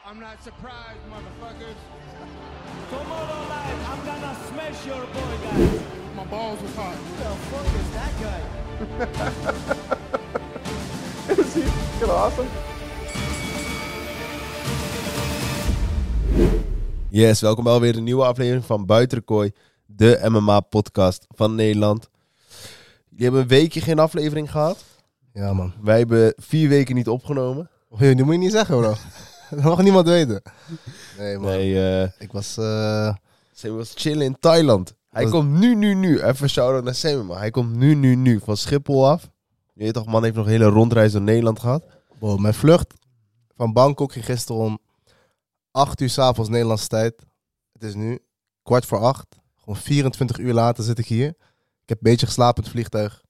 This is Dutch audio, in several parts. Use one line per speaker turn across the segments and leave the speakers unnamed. I'm not surprised, motherfuckers.
Tomorrow night, I'm gonna smash your boy, guys.
My balls was hot.
Who the fuck is that guy?
Is he fucking awesome?
Yes, welkom bij alweer een nieuwe aflevering van Buiten de Kooi, de MMA-podcast van Nederland. Jullie hebben een weekje geen aflevering gehad.
Ja, man.
Wij hebben vier weken niet opgenomen.
Hey, dat moet je niet zeggen, bro. dat mag niemand weten. Nee, man.
Nee, eh
Ik was... eh,
Sammy was chillen in Thailand. Hij
Was-
komt nu, nu, nu. Even shout-out naar Sammy, maar hij komt nu, nu, nu van Schiphol af. Je weet toch, man heeft nog een hele rondreis door Nederland gehad.
bro, mijn vlucht van Bangkok ging gisteren om 8 uur s'avonds Nederlandse tijd. Het is nu kwart voor acht. Gewoon 24 uur later zit ik hier. Ik heb een beetje geslapen in het vliegtuig.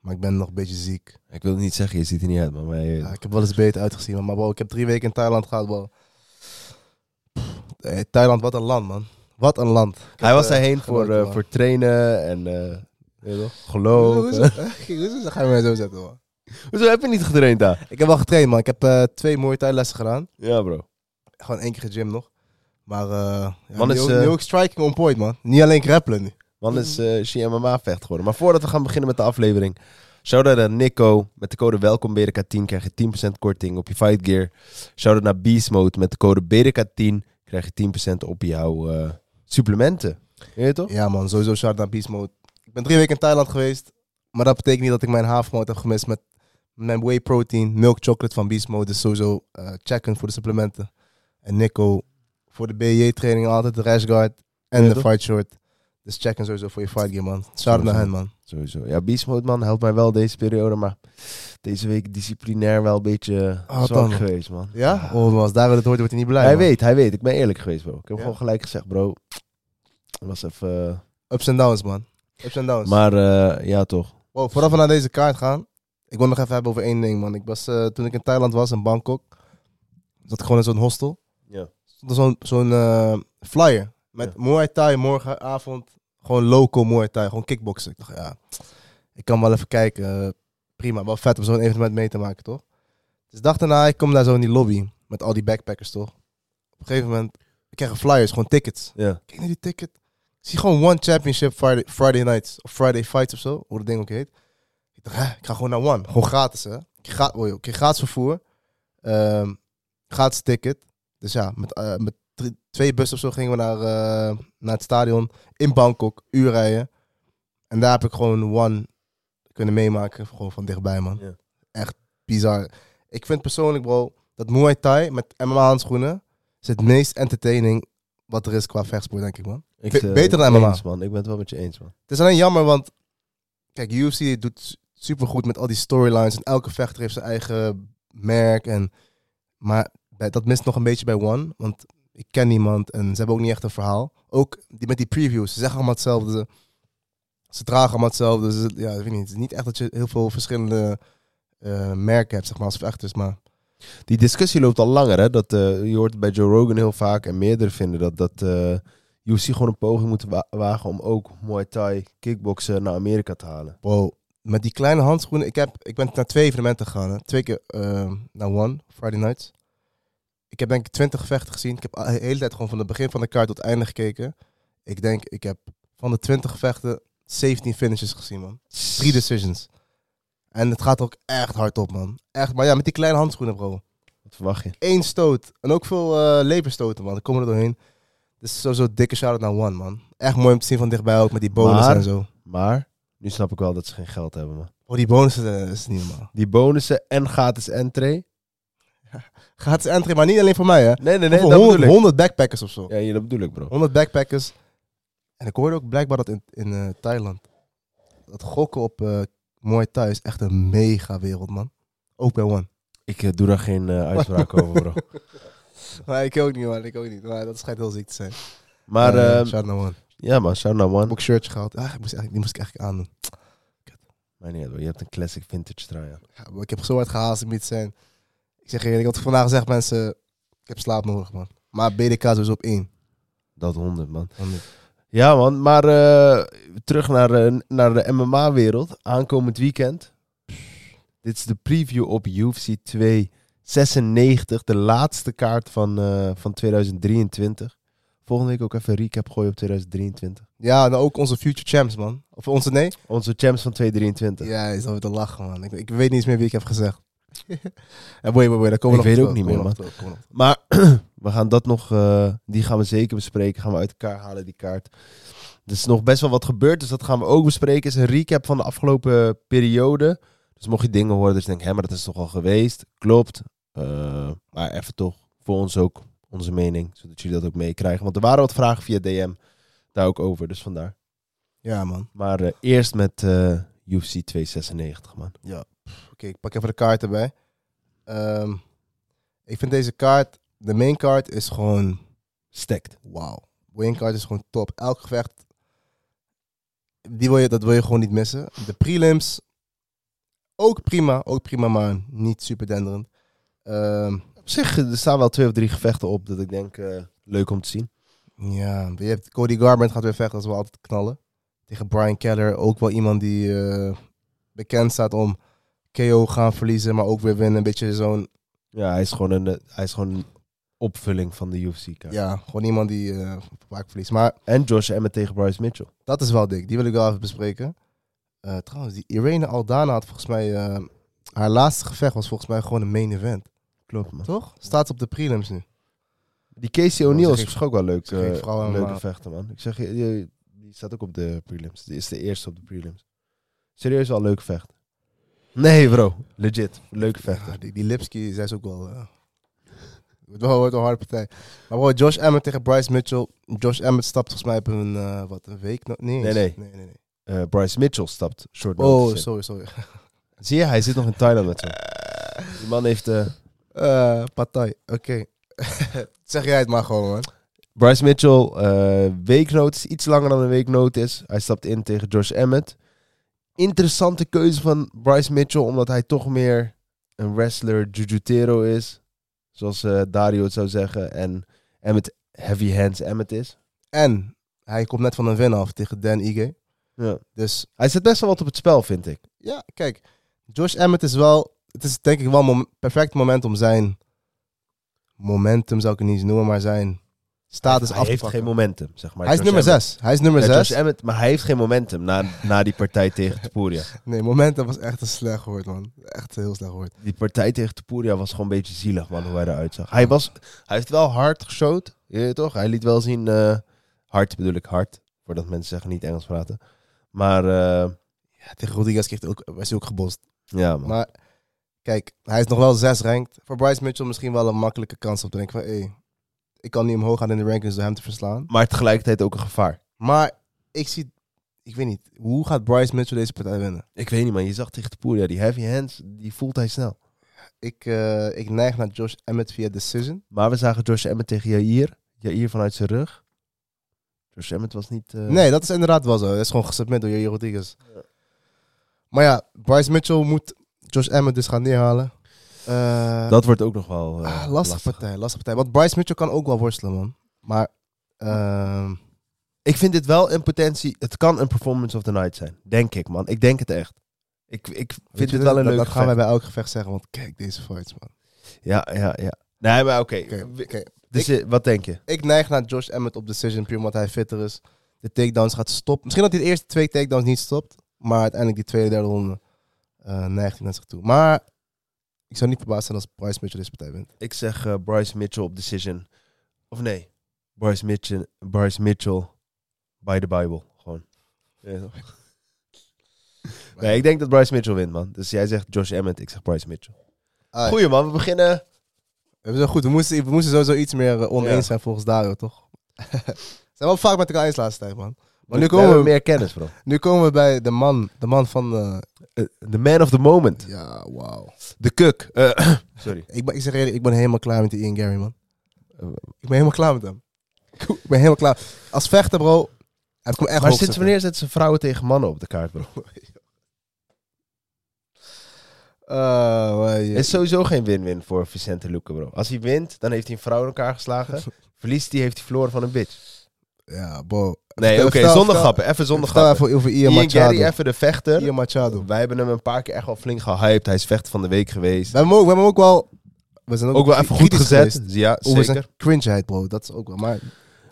Maar ik ben nog een beetje ziek.
Ik wil het niet zeggen, je ziet er niet uit, man, maar... eh, je-
Ja, ik heb wel eens beter uitgezien, man. maar bro, ik heb drie weken in Thailand gehad, bro. Pff, hey, Thailand, wat een land, man. Wat een land. Ik
hij
heb,
was
eh,
daarheen voor,
genoten,
eh,
man.
voor trainen en... eh weet je toch,
Hoezo,
geloof.
hoezo, hoezo ga je mij zo zetten, man?
Hoezo heb je niet getraind daar?
Ik heb wel getraind, man. Ik heb eh, twee mooie Thai-lessen gedaan.
Ja, bro.
Gewoon één keer gym nog. Maar eh ja,
Man
nu,
is,
ook,
eh,
nu ook striking on point, man. Niet alleen grappelen nu.
Man is eh she MMA vecht geworden. Maar voordat we gaan beginnen met de aflevering. Shout-out naar Nico. Met de code welkom BRK10 krijg je 10% korting op je Fight Gear. Shout-out naar Beast Mode. Met de code BRK10 krijg je 10% op jouw eh, supplementen. Weet je toch?
Ja, man. Sowieso shout naar Beast Mode. Ik ben drie weken in Thailand geweest. Maar dat betekent niet dat ik mijn havenmoot heb gemist met mijn whey protein, milk chocolate van Beast Mode. Dus sowieso eh, checken voor de supplementen. En Nico voor de BJ-training altijd, de rash guard en
Ja,
de
toch?
fight short. Dus checken sowieso voor je fight gear, man. Shout-out
Sowieso.
naar hen, man.
Sowieso. Ja, Beast Mode man helpt mij wel deze periode. Maar deze week disciplinair wel een beetje eh,
Ah, wat
zwak
dan?
geweest man.
Ja? Oh, als daar het hoort, wordt hij niet blij,
hij
man.
weet, hij weet. Ik ben eerlijk geweest bro. Ik heb
Ja.
gewoon gelijk gezegd bro. Het was even... eh,
Ups en downs, man. Ups en downs.
maar eh, ja toch.
Wow, voordat we naar deze kaart gaan, ik wil nog even hebben over één ding, man. Ik was, eh, toen ik in Thailand was, in Bangkok, zat ik gewoon in zo'n hostel.
Ja.
Stond er zo'n zo'n, eh, flyer met Muay Thai morgenavond. Gewoon local Muay Thai, gewoon kickboksen. Ik dacht, ja, ik kan wel even kijken. eh, prima, wel vet om zo'n evenement mee te maken, toch? Dus dag daarna, ik kom daar zo in die lobby met al die backpackers, toch? Op een gegeven moment, ik krijg flyers, gewoon tickets.
Ja.
Kijk naar die ticket. Ik zie gewoon One Championship Friday, Friday Nights. Of Friday Fights of zo. Hoe dat ding ook heet. Ik dacht, hè, ik ga gewoon naar One. Gewoon gratis, hè. Ik kreeg, gra- oh, joh, ik kreeg gratis vervoer. Ehm gratis ticket. Dus ja, met, eh, met drie- twee bussen of zo gingen we naar, eh, naar het stadion. In Bangkok. Uur rijden. En daar heb ik gewoon One kunnen meemaken. Gewoon van dichtbij, man.
Ja.
Echt bizar. Ik vind persoonlijk, bro, dat Muay Thai met MMA-handschoenen... is het meest entertaining wat er is qua vechtsport, denk ik, man.
Ik,
Be-
eh,
beter dan MMA.
Eens, man. Ik ben het wel met je eens, man.
Het is alleen jammer, want kijk, UFC doet super goed met al die storylines. En elke vechter heeft zijn eigen merk. En, maar bij- dat mist nog een beetje bij One. Want ik ken niemand en ze hebben ook niet echt een verhaal. Ook die, met die previews, ze zeggen allemaal hetzelfde. Ze, ze dragen allemaal hetzelfde. Dus het- ja, ik weet niet. Het is niet echt dat je heel veel verschillende eh, merken hebt, zeg maar, als vechters. Maar
Die discussie loopt al langer, hè? Dat, eh, je hoort het bij Joe Rogan heel vaak en meerdere vinden dat, dat eh UFC gewoon een poging moet wa- wagen om ook Muay Thai kickboksen naar Amerika te halen.
Wow, met die kleine handschoenen. Ik, heb, ik ben naar twee evenementen gegaan. Hè. Twee keer ehm, naar One, Friday Nights. Ik heb denk ik twintig gevechten gezien. Ik heb de hele tijd gewoon van het begin van de kaart tot het einde gekeken. Ik denk, ik heb van de twintig gevechten 17 finishes gezien, man. Drie
dus-
decisions. En het gaat ook echt hard op, man. Echt, maar ja, met die kleine handschoenen, bro.
Wat verwacht je?
Eén stoot. En ook veel eh leverstoten, man. Dan komen er doorheen. Dus sowieso dikke shout-out naar One, man. Echt mooi om te zien van dichtbij ook, met die bonus
Maar-
en zo.
Maar, nu snap ik wel dat ze geen geld hebben, man.
Oh, die bonussen eh, is niet normaal.
Die bonussen en gratis entree.
Gratis entree, maar niet alleen voor mij, hè.
Nee, nee, nee,
Voor
dat
100,
bedoel ik.
100 backpackers of zo.
Ja, ja, dat bedoel ik, bro.
100 backpackers. En ik hoorde ook blijkbaar dat in, in eh, Thailand... dat gokken op eh Muay Thai is echt een mega wereld, man. Ook bij One.
Ik eh, doe daar geen eh, uitspraak over, bro.
Maar ik ook niet, man. Ik ook niet. Maar dat schijnt heel ziek te zijn.
Maar,
Eh,
eh,
shout naar One. Ik
ja man, shout out
heb
man.
ook een shirtje gehaald. Ah, ik moest eigenlijk, die moest ik eigenlijk aandoen.
Maar nee, bro, je hebt een classic vintage trui aan.
Ja, maar ik heb zo hard gehaast, ik moet het zijn. Ik zeg je eerlijk, wat ik vandaag zeg, mensen... Ik heb slaap nodig, man. Maar BDK sowieso dus op één.
Dat 100, man.
Want
Ja, man. Maar eh, terug naar, eh, naar de MMA-wereld. Aankomend weekend. Dit is de preview op UFC 2 96, de laatste kaart van, eh, van 2023. Volgende week ook even recap gooien op 2023.
Ja, en ook onze future champs, man. Of onze, nee?
Onze champs van 2023.
Ja, is alweer te lachen, man. Ik, ik weet niet eens meer wie ik heb gezegd. ja, boy, boy, boy, daar komen we
Ik
nog
weet het ook
op terug,
niet meer,
komen we nog op terug, komen we nog op
Maar we gaan dat nog, eh, die gaan we zeker bespreken. Gaan we uit elkaar halen, die kaart. Er is nog best wel wat gebeurd, dus dat gaan we ook bespreken. Is een recap van de afgelopen periode. Dus mocht je dingen horen, dus denk, hé, maar dat is toch al geweest. Klopt. Eh, maar even toch voor ons ook onze mening, zodat jullie dat ook meekrijgen. Want er waren wat vragen via DM daar ook over, dus vandaar.
terug. Ja, man.
Maar eh, eerst met eh, UFC 296, man.
Oké, ik pak even de kaart erbij. Ehm, ik vind deze kaart, de main kaart is gewoon
Stekt.
wauw. Wayne Card is gewoon top. Elk gevecht, die wil je, dat wil je gewoon niet missen. De prelims, ook prima. Ook prima, maar niet super denderend. Ehm,
Op zich, eh, er staan wel twee of drie gevechten op dat ik denk, eh, leuk om te zien.
ja, je hebt Cody Garbrandt gaat weer vechten, dat is wel altijd knallen. Tegen Brian Keller, ook wel iemand die eh, bekend staat om KO gaan verliezen, maar ook weer winnen. Een beetje zo'n,
Ja, hij is gewoon een, eh, hij is gewoon een opvulling van de UFC-kaart.
ja, gewoon iemand die eh, vaak verliest. Maar
En Josh Emmett tegen Bryce Mitchell.
Dat is wel dik. Die wil ik wel even bespreken. Eh, trouwens, die Irene Aldana had volgens mij... eh, haar laatste gevecht was volgens mij gewoon een main event.
Klopt, man.
Toch? Staat ze op de prelims nu.
Die Casey
Oh,
O'Neill
ze
is
ging-
op zich ook wel leuk.
ze ging
eh,
vooral
leuke
helemaal-
vechter, man. Ik zeg je, die, die staat ook op de prelims. Die is de eerste op de prelims. Serieus wel leuk vechten. Nee, bro. Legit. Leuke vechter.
Ja, die, die Lipski, zij is ook wel... eh, wordt wel wordt een harde partij. Maar bro, Josh Emmett tegen Bryce Mitchell. Josh Emmett stapt volgens mij op een, eh, wat, een week? nog- Nee, eens.
Nee,
nee, nee, nee.
Eh, Bryce Mitchell stapt short
Oh,
notice in.
sorry, sorry.
Zie je, hij zit nog in Thailand met ze. Die man heeft... eh,
Eh partij, oké. zeg jij het maar gewoon, man.
Bryce Mitchell, eh weeknotice, iets langer dan een weeknotice. Hij stapt in tegen Josh Emmett. Interessante keuze van Bryce Mitchell, omdat hij toch meer een wrestler jujutero is. Zoals eh, Dario het zou zeggen. En Emmett heavy hands Emmett is.
En hij komt net van een win af tegen Dan Ige.
Ja.
Dus
Hij zet best wel wat op het spel, vind ik.
Ja, kijk. Josh Emmett is wel... Het is denk ik wel een mom- perfect moment om zijn... Momentum zou ik het niet eens noemen, maar zijn status
hij
af te
heeft
pakken.
geen momentum, zeg maar.
hij is
Josh
nummer
Emmett.
6. Hij is nummer
Ja,
6.
Josh Emmett, maar hij heeft geen momentum na, na die partij tegen Topuria.
nee, momentum was echt een slecht woord, man. Echt een heel slecht woord.
Die partij tegen Topuria was gewoon een beetje zielig, man, hoe hij eruit zag. Hij, was, hij heeft wel hard geshowt, je weet toch? Hij liet wel zien, eh, hard bedoel ik hard, voordat mensen zeggen niet Engels praten. Maar eh,
Ja, tegen Rodriguez kreeg hij ook, was hij ook gebost.
ja, man.
Maar kijk, hij is nog wel 6 ranked. Voor Bryce Mitchell misschien wel een makkelijke kans op te denken van... Hey, ik kan niet omhoog gaan in de rankings door hem te verslaan.
maar tegelijkertijd ook een gevaar.
Maar ik zie... Ik weet niet. Hoe gaat Bryce Mitchell deze partij winnen?
Ik weet niet, man. Je zag tegen Topuria, die heavy hands, die voelt hij snel.
Ik, eh, ik neig naar Josh Emmett via decision.
Maar we zagen Josh Emmett tegen Jair. Jair vanuit zijn rug. Josh Emmett was niet... eh,
Nee, dat is inderdaad wel zo. Dat is gewoon gesubmit door Jair Rodriguez. Maar ja, Bryce Mitchell moet Josh Emmett dus gaan neerhalen. Eh,
Dat wordt ook nog wel eh,
ah, lastige
lastig.
partij, lastige partij. Want Bryce Mitchell kan ook wel worstelen, man. Maar ehm,
Ik vind dit wel een potentie. Het kan een performance of the night zijn. Denk ik, man. Ik denk het echt. Ik, ik
weet
vind
je,
dit wel een
dat,
leuk
Dat gaan wij
gevecht.
bij elk gevecht zeggen, want kijk deze fights, man.
Ja, ja, ja. Nee, maar oké.
Oké, oké.
Dus eh, wat denk je?
Ik neig naar Josh Emmett op decision, puur omdat hij fitter is. De takedowns gaat stoppen. Misschien dat hij de eerste twee takedowns niet stopt. Maar uiteindelijk die tweede, derde ronde eh, neigt hij naar zich toe. Maar ik zou niet verbaasd zijn als Bryce Mitchell deze partij wint.
Ik zeg eh, Bryce Mitchell op decision. Of nee. Bryce Mitchell, Bryce Mitchell by the Bible. Gewoon. Ja, toch? Nee, ik denk dat Bryce Mitchell wint, man. Dus jij zegt Josh Emmett, ik zeg Bryce Mitchell.
Alright.
Goeie, man. We beginnen.
We zijn goed, we moesten, we moesten sowieso iets meer eh, oneens
Ja.
zijn volgens Dario, toch? zijn we ook vaak met elkaar eens de laatste tijd, man. Maar nu
We
komen we,
hebben eh, meer kennis, bro.
nu komen we bij de man, de man van... eh,
Eh, The man of the moment.
ja, wauw.
De kuk. Eh, sorry.
Ik, ben- ik zeg eerlijk, ik ben helemaal klaar met die Ian Gary, man. Eh, Ik ben helemaal klaar met hem. Ik ben helemaal klaar. Als vechter, bro, heb ik hem
Maar
echt hoog
sinds
zitten.
wanneer zetten ze vrouwen tegen mannen op de kaart, bro?
Eh, maar je-
Het is sowieso geen win-win voor Vicente Luque, bro. Als hij wint, dan heeft hij een vrouw in elkaar geslagen. Verliest hij, heeft hij verloren van een bitch.
Ja, bro.
Nee, oké,
Vertel- vertel-
zonder
vertel-
grappen. Even zonder
Vertel
grappen.
even over Ian
Ian
Machado.
Gary, even de vechter.
Ian Machado.
Wij hebben hem een paar keer echt wel flink gehyped. Hij is vechter van de week geweest.
We hebben, hem ook, we hebben hem ook wel we zijn ook,
Ook wel even goed
kritisch
gezet.
geweest
Ja,
Over
zeker.
zijn cringeheid, bro. Dat is ook wel. Maar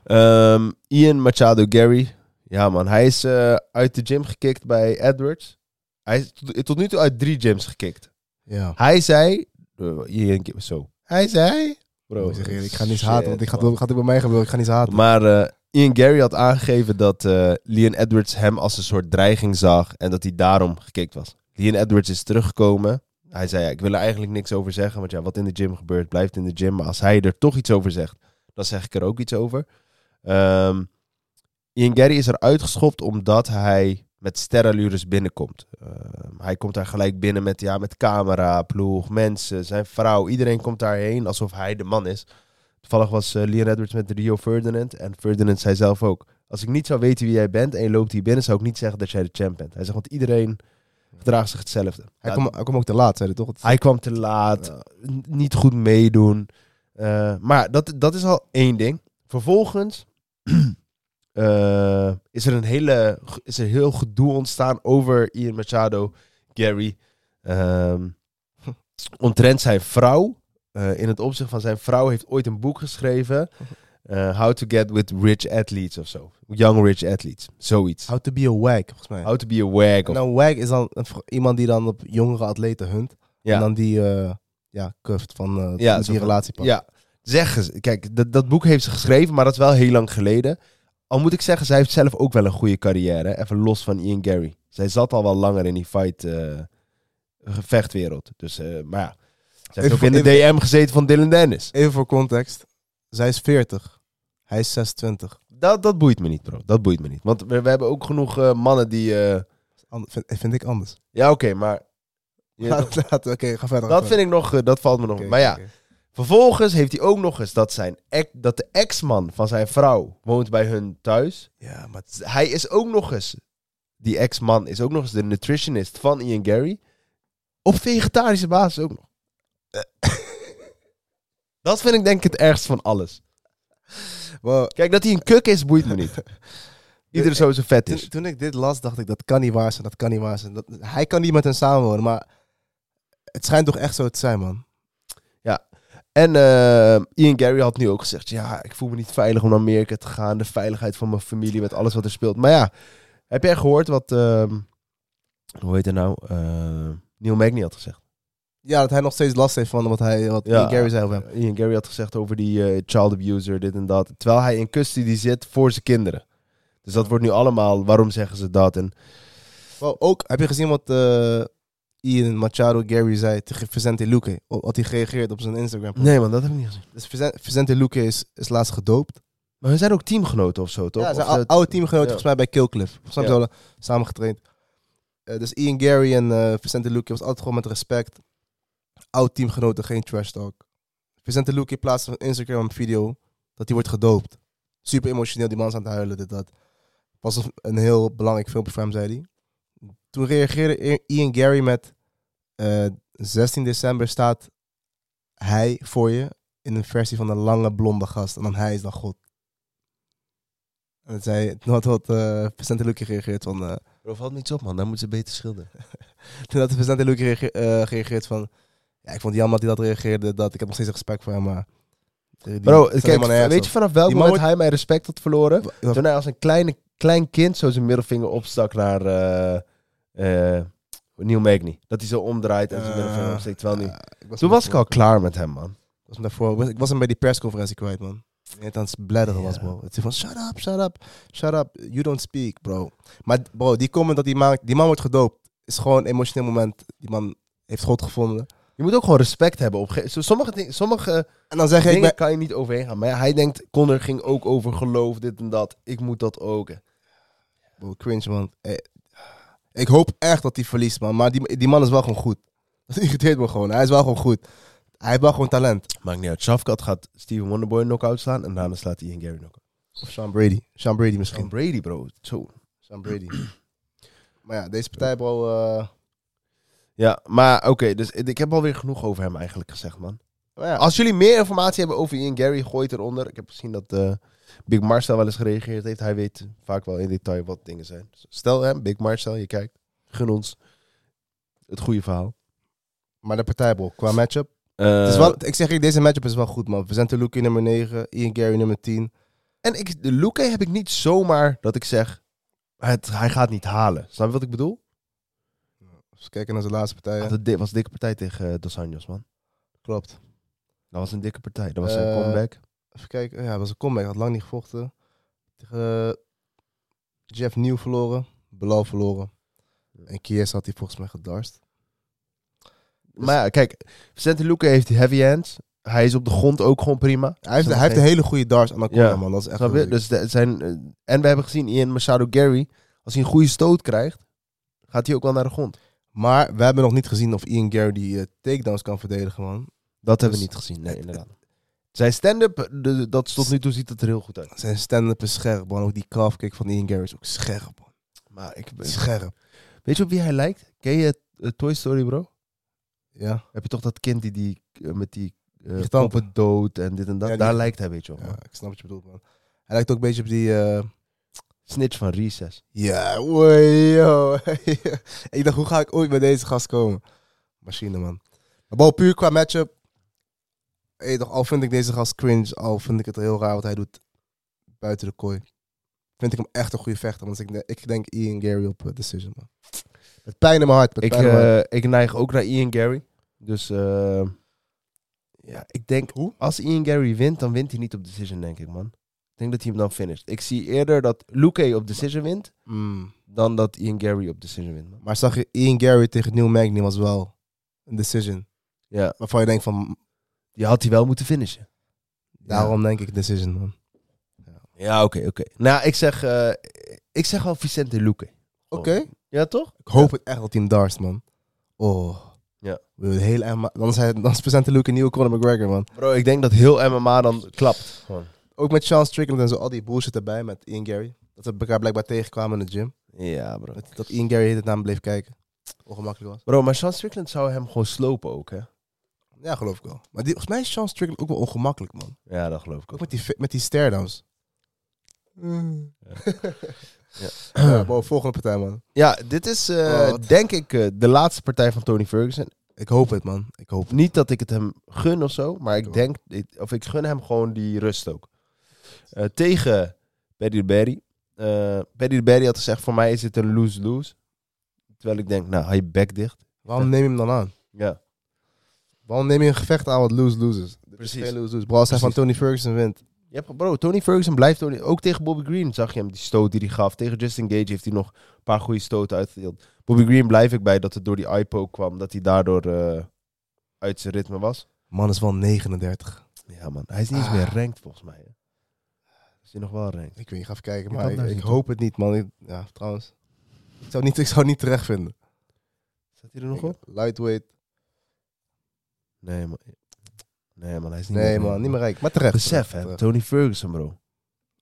Ehm, Ian Machado Gary. Ja, man. Hij is eh, uit de gym gekikt bij Edwards. Hij is tot, tot nu toe uit drie gyms gekikt.
ja.
Hij zei... eh, Ian, Ki- zo. Hij zei... Bro,
ik, zeg eerlijk, ik ga niet
shit,
haten, want ik
man.
ga, gaat ook bij mij gebeuren. Ik ga niet haten.
Maar eh, Ian Gary had aangegeven dat eh Leon Edwards hem als een soort dreiging zag en dat hij daarom gekikt was. Leon Edwards is teruggekomen. Hij zei, ja, ik wil er eigenlijk niks over zeggen, want ja, wat in de gym gebeurt, blijft in de gym. Maar als hij er toch iets over zegt, dan zeg ik er ook iets over. Ehm, Ian Gary is er uitgeschopt omdat hij met sterrenlures binnenkomt. Ehm, hij komt daar gelijk binnen met, ja, met camera, ploeg, mensen, zijn vrouw. Iedereen komt daarheen alsof hij de man is. Toevallig was eh, Leon Edwards met Rio Ferdinand. En Ferdinand zei zelf ook... Als ik niet zou weten wie jij bent en je loopt hier binnen... zou ik niet zeggen dat jij de champ bent. Hij zegt, want iedereen gedraagt zich hetzelfde.
hij,
Ja,
kwam, hij kwam ook te laat, zei hij toch? Dat-
hij kwam te laat, n- niet goed meedoen. Eh, maar dat, dat is al één ding. Vervolgens eh, is er een hele, is er heel gedoe ontstaan over Ian Machado, Gary. Ehm omtrent zijn vrouw. Eh, in het opzicht van zijn vrouw heeft ooit een boek geschreven. eh, How to get with rich athletes of zo. Young rich athletes. Zoiets.
How to be a wag, volgens mij.
How to be a wag. Of,
En een Nou, wag is dan een v- iemand die dan op jongere atleten hunt.
ja.
En dan die, eh, ja, cuft van eh,
Ja,
met
zo
die
van-
relatie pakt.
Ja, zeg eens. Kijk, dat, dat boek heeft ze geschreven, maar dat is wel heel lang geleden. Al moet ik zeggen, zij heeft zelf ook wel een goede carrière. Even los van Ian Gary. Zij zat al wel langer in die fight eh, gevechtwereld. Dus, eh, maar ja. Ze heeft
Even
ook in de
voor-
DM gezeten van Dylan Dennis.
Even voor context. Zij is 40. Hij is 26.
Dat, dat boeit me niet, bro. Dat boeit me niet. Want we, we hebben ook genoeg eh, mannen die... eh,
Ander- vind, vind ik anders.
ja, oké, maar... je weet toch,
Oké, ga verder.
dat vind ik nog... eh, dat valt me nog... maar ja, vervolgens heeft hij ook nog eens dat, zijn, ex- dat de ex-man van zijn vrouw woont bij hun thuis.
Ja, maar het is-
hij is ook nog eens, die ex-man is ook nog eens de nutritionist van Ian Gary. Op vegetarische basis ook nog. dat vind ik denk ik het ergst van alles.
wow.
Kijk, dat hij een kuk is, boeit me niet. Ieder zo zijn vet
toen,
is.
toen ik dit las, dacht ik, dat kan niet waar zijn, dat kan niet waar zijn. Dat, hij kan niet met hen samenwonen, maar het schijnt toch echt zo te zijn, man.
En eh, Ian Gary had nu ook gezegd: Ja, ik voel me niet veilig om naar Amerika te gaan. De veiligheid van mijn familie met alles wat er speelt. Maar ja, heb jij gehoord wat. ehm, hoe heet hij nou? Eh, Neil Magny had gezegd.
Ja, dat hij nog steeds last heeft van wat, hij, wat
Ja.
Gary zei over hem.
Eh, Ian Gary had gezegd over die eh, child abuser, dit en dat. Terwijl hij in custody zit voor zijn kinderen. Dus dat wordt nu allemaal, waarom zeggen ze dat? En
Wow, ook, heb je gezien wat eh, Ian Machado Gary zei tegen Vicente Luque? O- Had hij gereageerd op zijn Instagram?
nee man, dat heb ik niet gezien.
Dus Vicen- Vicente Luque is, is laatst gedoopt.
Maar we zijn ook teamgenoten of zo, toch?
Ja, zijn
Of
ou-
dat-
oude teamgenoot
ja.
volgens mij bij Killcliff. Volgens mij
Ja.
hebben ze al samen getraind. Eh, dus Ian Gary en eh Vicente Luque was altijd gewoon met respect. Oud teamgenoten, geen trash talk. Vicente Luque plaatste op Instagram video dat hij wordt gedoopt. Super emotioneel, die man is aan het huilen, dit, dat. Was een- een heel belangrijk filmpje voor hem, zei hij. Toen reageerde I- Ian Gary met... eh, 16 december staat hij voor je in een versie van een lange blonde gast. En dan hij is dan God. En dat zei, toen had wat eh Vicente Luque gereageerd van... eh,
Bro, valt me iets op man, daar moeten ze beter schilderen.
toen had Vicente Luque reage- eh, gereageerd van... Ja, ik vond het jammer dat hij dat reageerde. Dat, ik heb nog steeds respect voor hem, maar... die- die
Bro,
staat helemaal
kijk,
nergens
weet je vanaf welk
Die man
moment hij mijn respect had verloren?
op.
Toen hij als een kleine, klein kind zo zijn middelvinger opstak naar eh, eh, Neil Magny. Dat hij zo omdraait en zijn
Eh,
middelvinger opsteekt. Terwijl nu...
eh, was
Toen
hem
was ik al klaar met hem man.
daarvoor- was hem daarvoor, ik was- ik was hem bij die persconferentie kwijt, man. En het aan het bladderen was,
Ja.
bro. Het is van, shut up, shut up, shut up. You don't speak, bro. Maar bro, die comment dat die man, die man wordt gedoopt... is gewoon een emotioneel moment. Die man heeft God gevonden.
Je moet ook gewoon respect hebben. Op een gege- sommige, ding- sommige
En dan zeg ik...
Dingen
bij-
kan je niet overheen gaan. Maar ja, hij denkt, Connor ging ook over geloof, dit en dat. Ik moet dat ook.
Bro, cringe, man. Eh, Ik hoop echt dat hij verliest, man. Maar die, die man is wel gewoon goed. Dat irriteert me gewoon. Hij is wel gewoon goed. Hij heeft wel gewoon talent.
Maakt niet uit. Shafkat gaat Steven Wonderboy knock-out slaan. En daarna slaat hij Ian Gary knock-out.
Of Sean Brady. Sean Brady misschien.
Sean Brady, bro. Zo.
Sean Brady. maar ja, deze partij, bro. eh,
Ja, maar oké. dus ik heb alweer genoeg over hem eigenlijk gezegd, man.
maar ja,
Als jullie meer informatie hebben over Ian Gary, gooi het eronder. Ik heb gezien dat eh, Big Marcel wel eens gereageerd heeft. Hij weet vaak wel in detail wat dingen zijn. Dus stel hem, Big Marcel, je kijkt. Gun ons het goede verhaal.
maar de partij, bro. Qua matchup.
Eh,
Het is wel, ik zeg je, deze matchup is wel goed, man. We zijn te Luke nummer 9, Ian Gary nummer 10.
En ik, de Luke heb ik niet zomaar dat ik zeg, het, hij gaat niet halen. Snap je wat ik bedoel?
Als we kijken naar zijn laatste partij. hè.
Dat di- was een dikke partij tegen eh, Dos Anjos, man.
Klopt.
Dat was een dikke partij. Dat was zijn
Eh,
comeback.
Even kijken. oh Ja, het was een comeback. Had lang niet gevochten. Tegen eh, Jeff Nieuw verloren. Belal verloren. En Kies had hij volgens mij gedarst.
Maar ja, kijk, Vicente Luque heeft die heavy hands. Hij is op de grond ook gewoon prima.
Hij heeft,
Snap
hij heeft een
je?
hele goede darts anaconda,
Ja.
man. Dat is echt
Snap je?
wel ziek.
Dus de- zijn, eh, en we hebben gezien Ian Machado Gary, als hij een goede stoot krijgt, gaat hij ook wel naar de grond.
Maar we hebben nog niet gezien of Ian Gary die eh, takedowns kan verdedigen, man.
Dat hebben we
Dus-
niet gezien, nee, inderdaad. Zijn stand-up, de- dat tot nu toe ziet het er heel goed uit.
Zijn stand-up is scherp, man. Ook die calf kick van Ian Gary is ook scherp, man.
Maar ik,
Scherp.
weet je op wie hij lijkt? Ken je eh, Toy Story, bro?
Ja.
Heb je toch dat kind die, die eh, met die eh
Die tanden.
koppen dood en dit en dat?
Ja, die-
Daar lijkt hij, weet je wel.
ja,
man.
ik snap wat je bedoelt, man. Hij lijkt ook een beetje op die... eh,
Snitch van Recess.
Ja, oei, yo. ik dacht, hoe ga ik ooit bij deze gast komen? Machine, man. Maar bro, puur qua matchup. Hey, toch, al vind ik deze gast cringe, al vind ik het heel raar wat hij doet buiten de kooi. Vind ik hem echt een goede vechter, want ik, ik denk Ian Gary op eh, decision, man. Met pijn in mijn hart, met
Ik,
pijn in mijn hart.
eh, ik neig ook naar Ian Gary. Dus eh, ja, ik denk, als Ian Gary wint, dan wint hij niet op decision, denk ik, man. Ik denk dat hij hem dan finisht. Ik zie eerder dat Luke op decision wint,
Mm.
dan dat Ian Gary op decision wint, man.
Maar zag je, Ian Gary tegen Neil Magny was wel een decision.
Ja,
Waarvan je denkt van,
die had hij wel moeten finishen.
daarom denk ik decision, man.
Ja, oké, oké. Nou, ik zeg, eh, ik zeg al Vicente Luque.
Oké.
Ja, toch?
Ik hoop het echt dat hij hem darst, man. Oh.
Ja.
We willen heel erg ma- Dan zijn dan is presente Luke een nieuwe Conor McGregor, man.
Bro, ik denk dat heel MMA dan klapt. Gewoon.
Ook met Sean Strickland en zo, al die bullshit erbij met Ian Gary. Dat we elkaar blijkbaar tegenkwamen in de gym.
Ja, bro.
Dat, dat Ian Gary de hele tijd naar hem bleef kijken. Ongemakkelijk was.
Bro, maar Sean Strickland zou hem gewoon slopen ook, hè?
Ja, geloof ik wel. Maar die, volgens mij is Sean Strickland ook wel ongemakkelijk, man.
Ja, dat geloof ik
Ook
ook.
met die, fi- met die stare-downs.
Mm. Ja.
Ja. bro, volgende partij, man.
Ja, dit is eh,
Oh, wat-
denk ik eh, de laatste partij van Tony Ferguson.
Ik hoop het, man. Ik hoop het.
Niet dat ik het hem gun of zo, maar ik
Cool.
denk, ik- of ik gun hem gewoon die rust ook. Eh, tegen Paddy de Berry. Eh Paddy de Berry had gezegd, voor mij is dit een lose-lose. Terwijl ik denk, nou, hij bek dicht.
Waarom neem je hem dan aan?
Ja,
Waarom neem je een gevecht aan wat lose-losers?
precies.
Geen lose-losers. Bro, als hij van
Precies.
Tony Ferguson wint.
Je hebt, bro, Tony Ferguson blijft Tony. Ook tegen Bobby Green zag je hem, die stoot die hij gaf. Tegen Justin Gage heeft hij nog een paar goede stoten uitgedeeld. Bobby Green blijf ik bij dat het door die iPoke kwam. Dat hij daardoor eh, uit zijn ritme was.
Man is wel 39.
Ja, man. Hij is niet eens
Ah.
meer ranked volgens mij. Hè. Is hij nog wel ranked?
Ik weet niet, ga even kijken,
Je
maar
kan
ik,
daar
ik
zien,
hoop het niet, man. Ik- ja, trouwens. Ik zou, niet, ik zou het niet terecht vinden.
Staat hij er nog
Ik-
op?
Lightweight.
Nee, man. Nee, man. Hij is niet
Nee,
meer
man,
ranked,
niet meer eh. rijk. Maar terecht.
Besef,
terecht,
hè.
terecht.
Tony Ferguson, bro.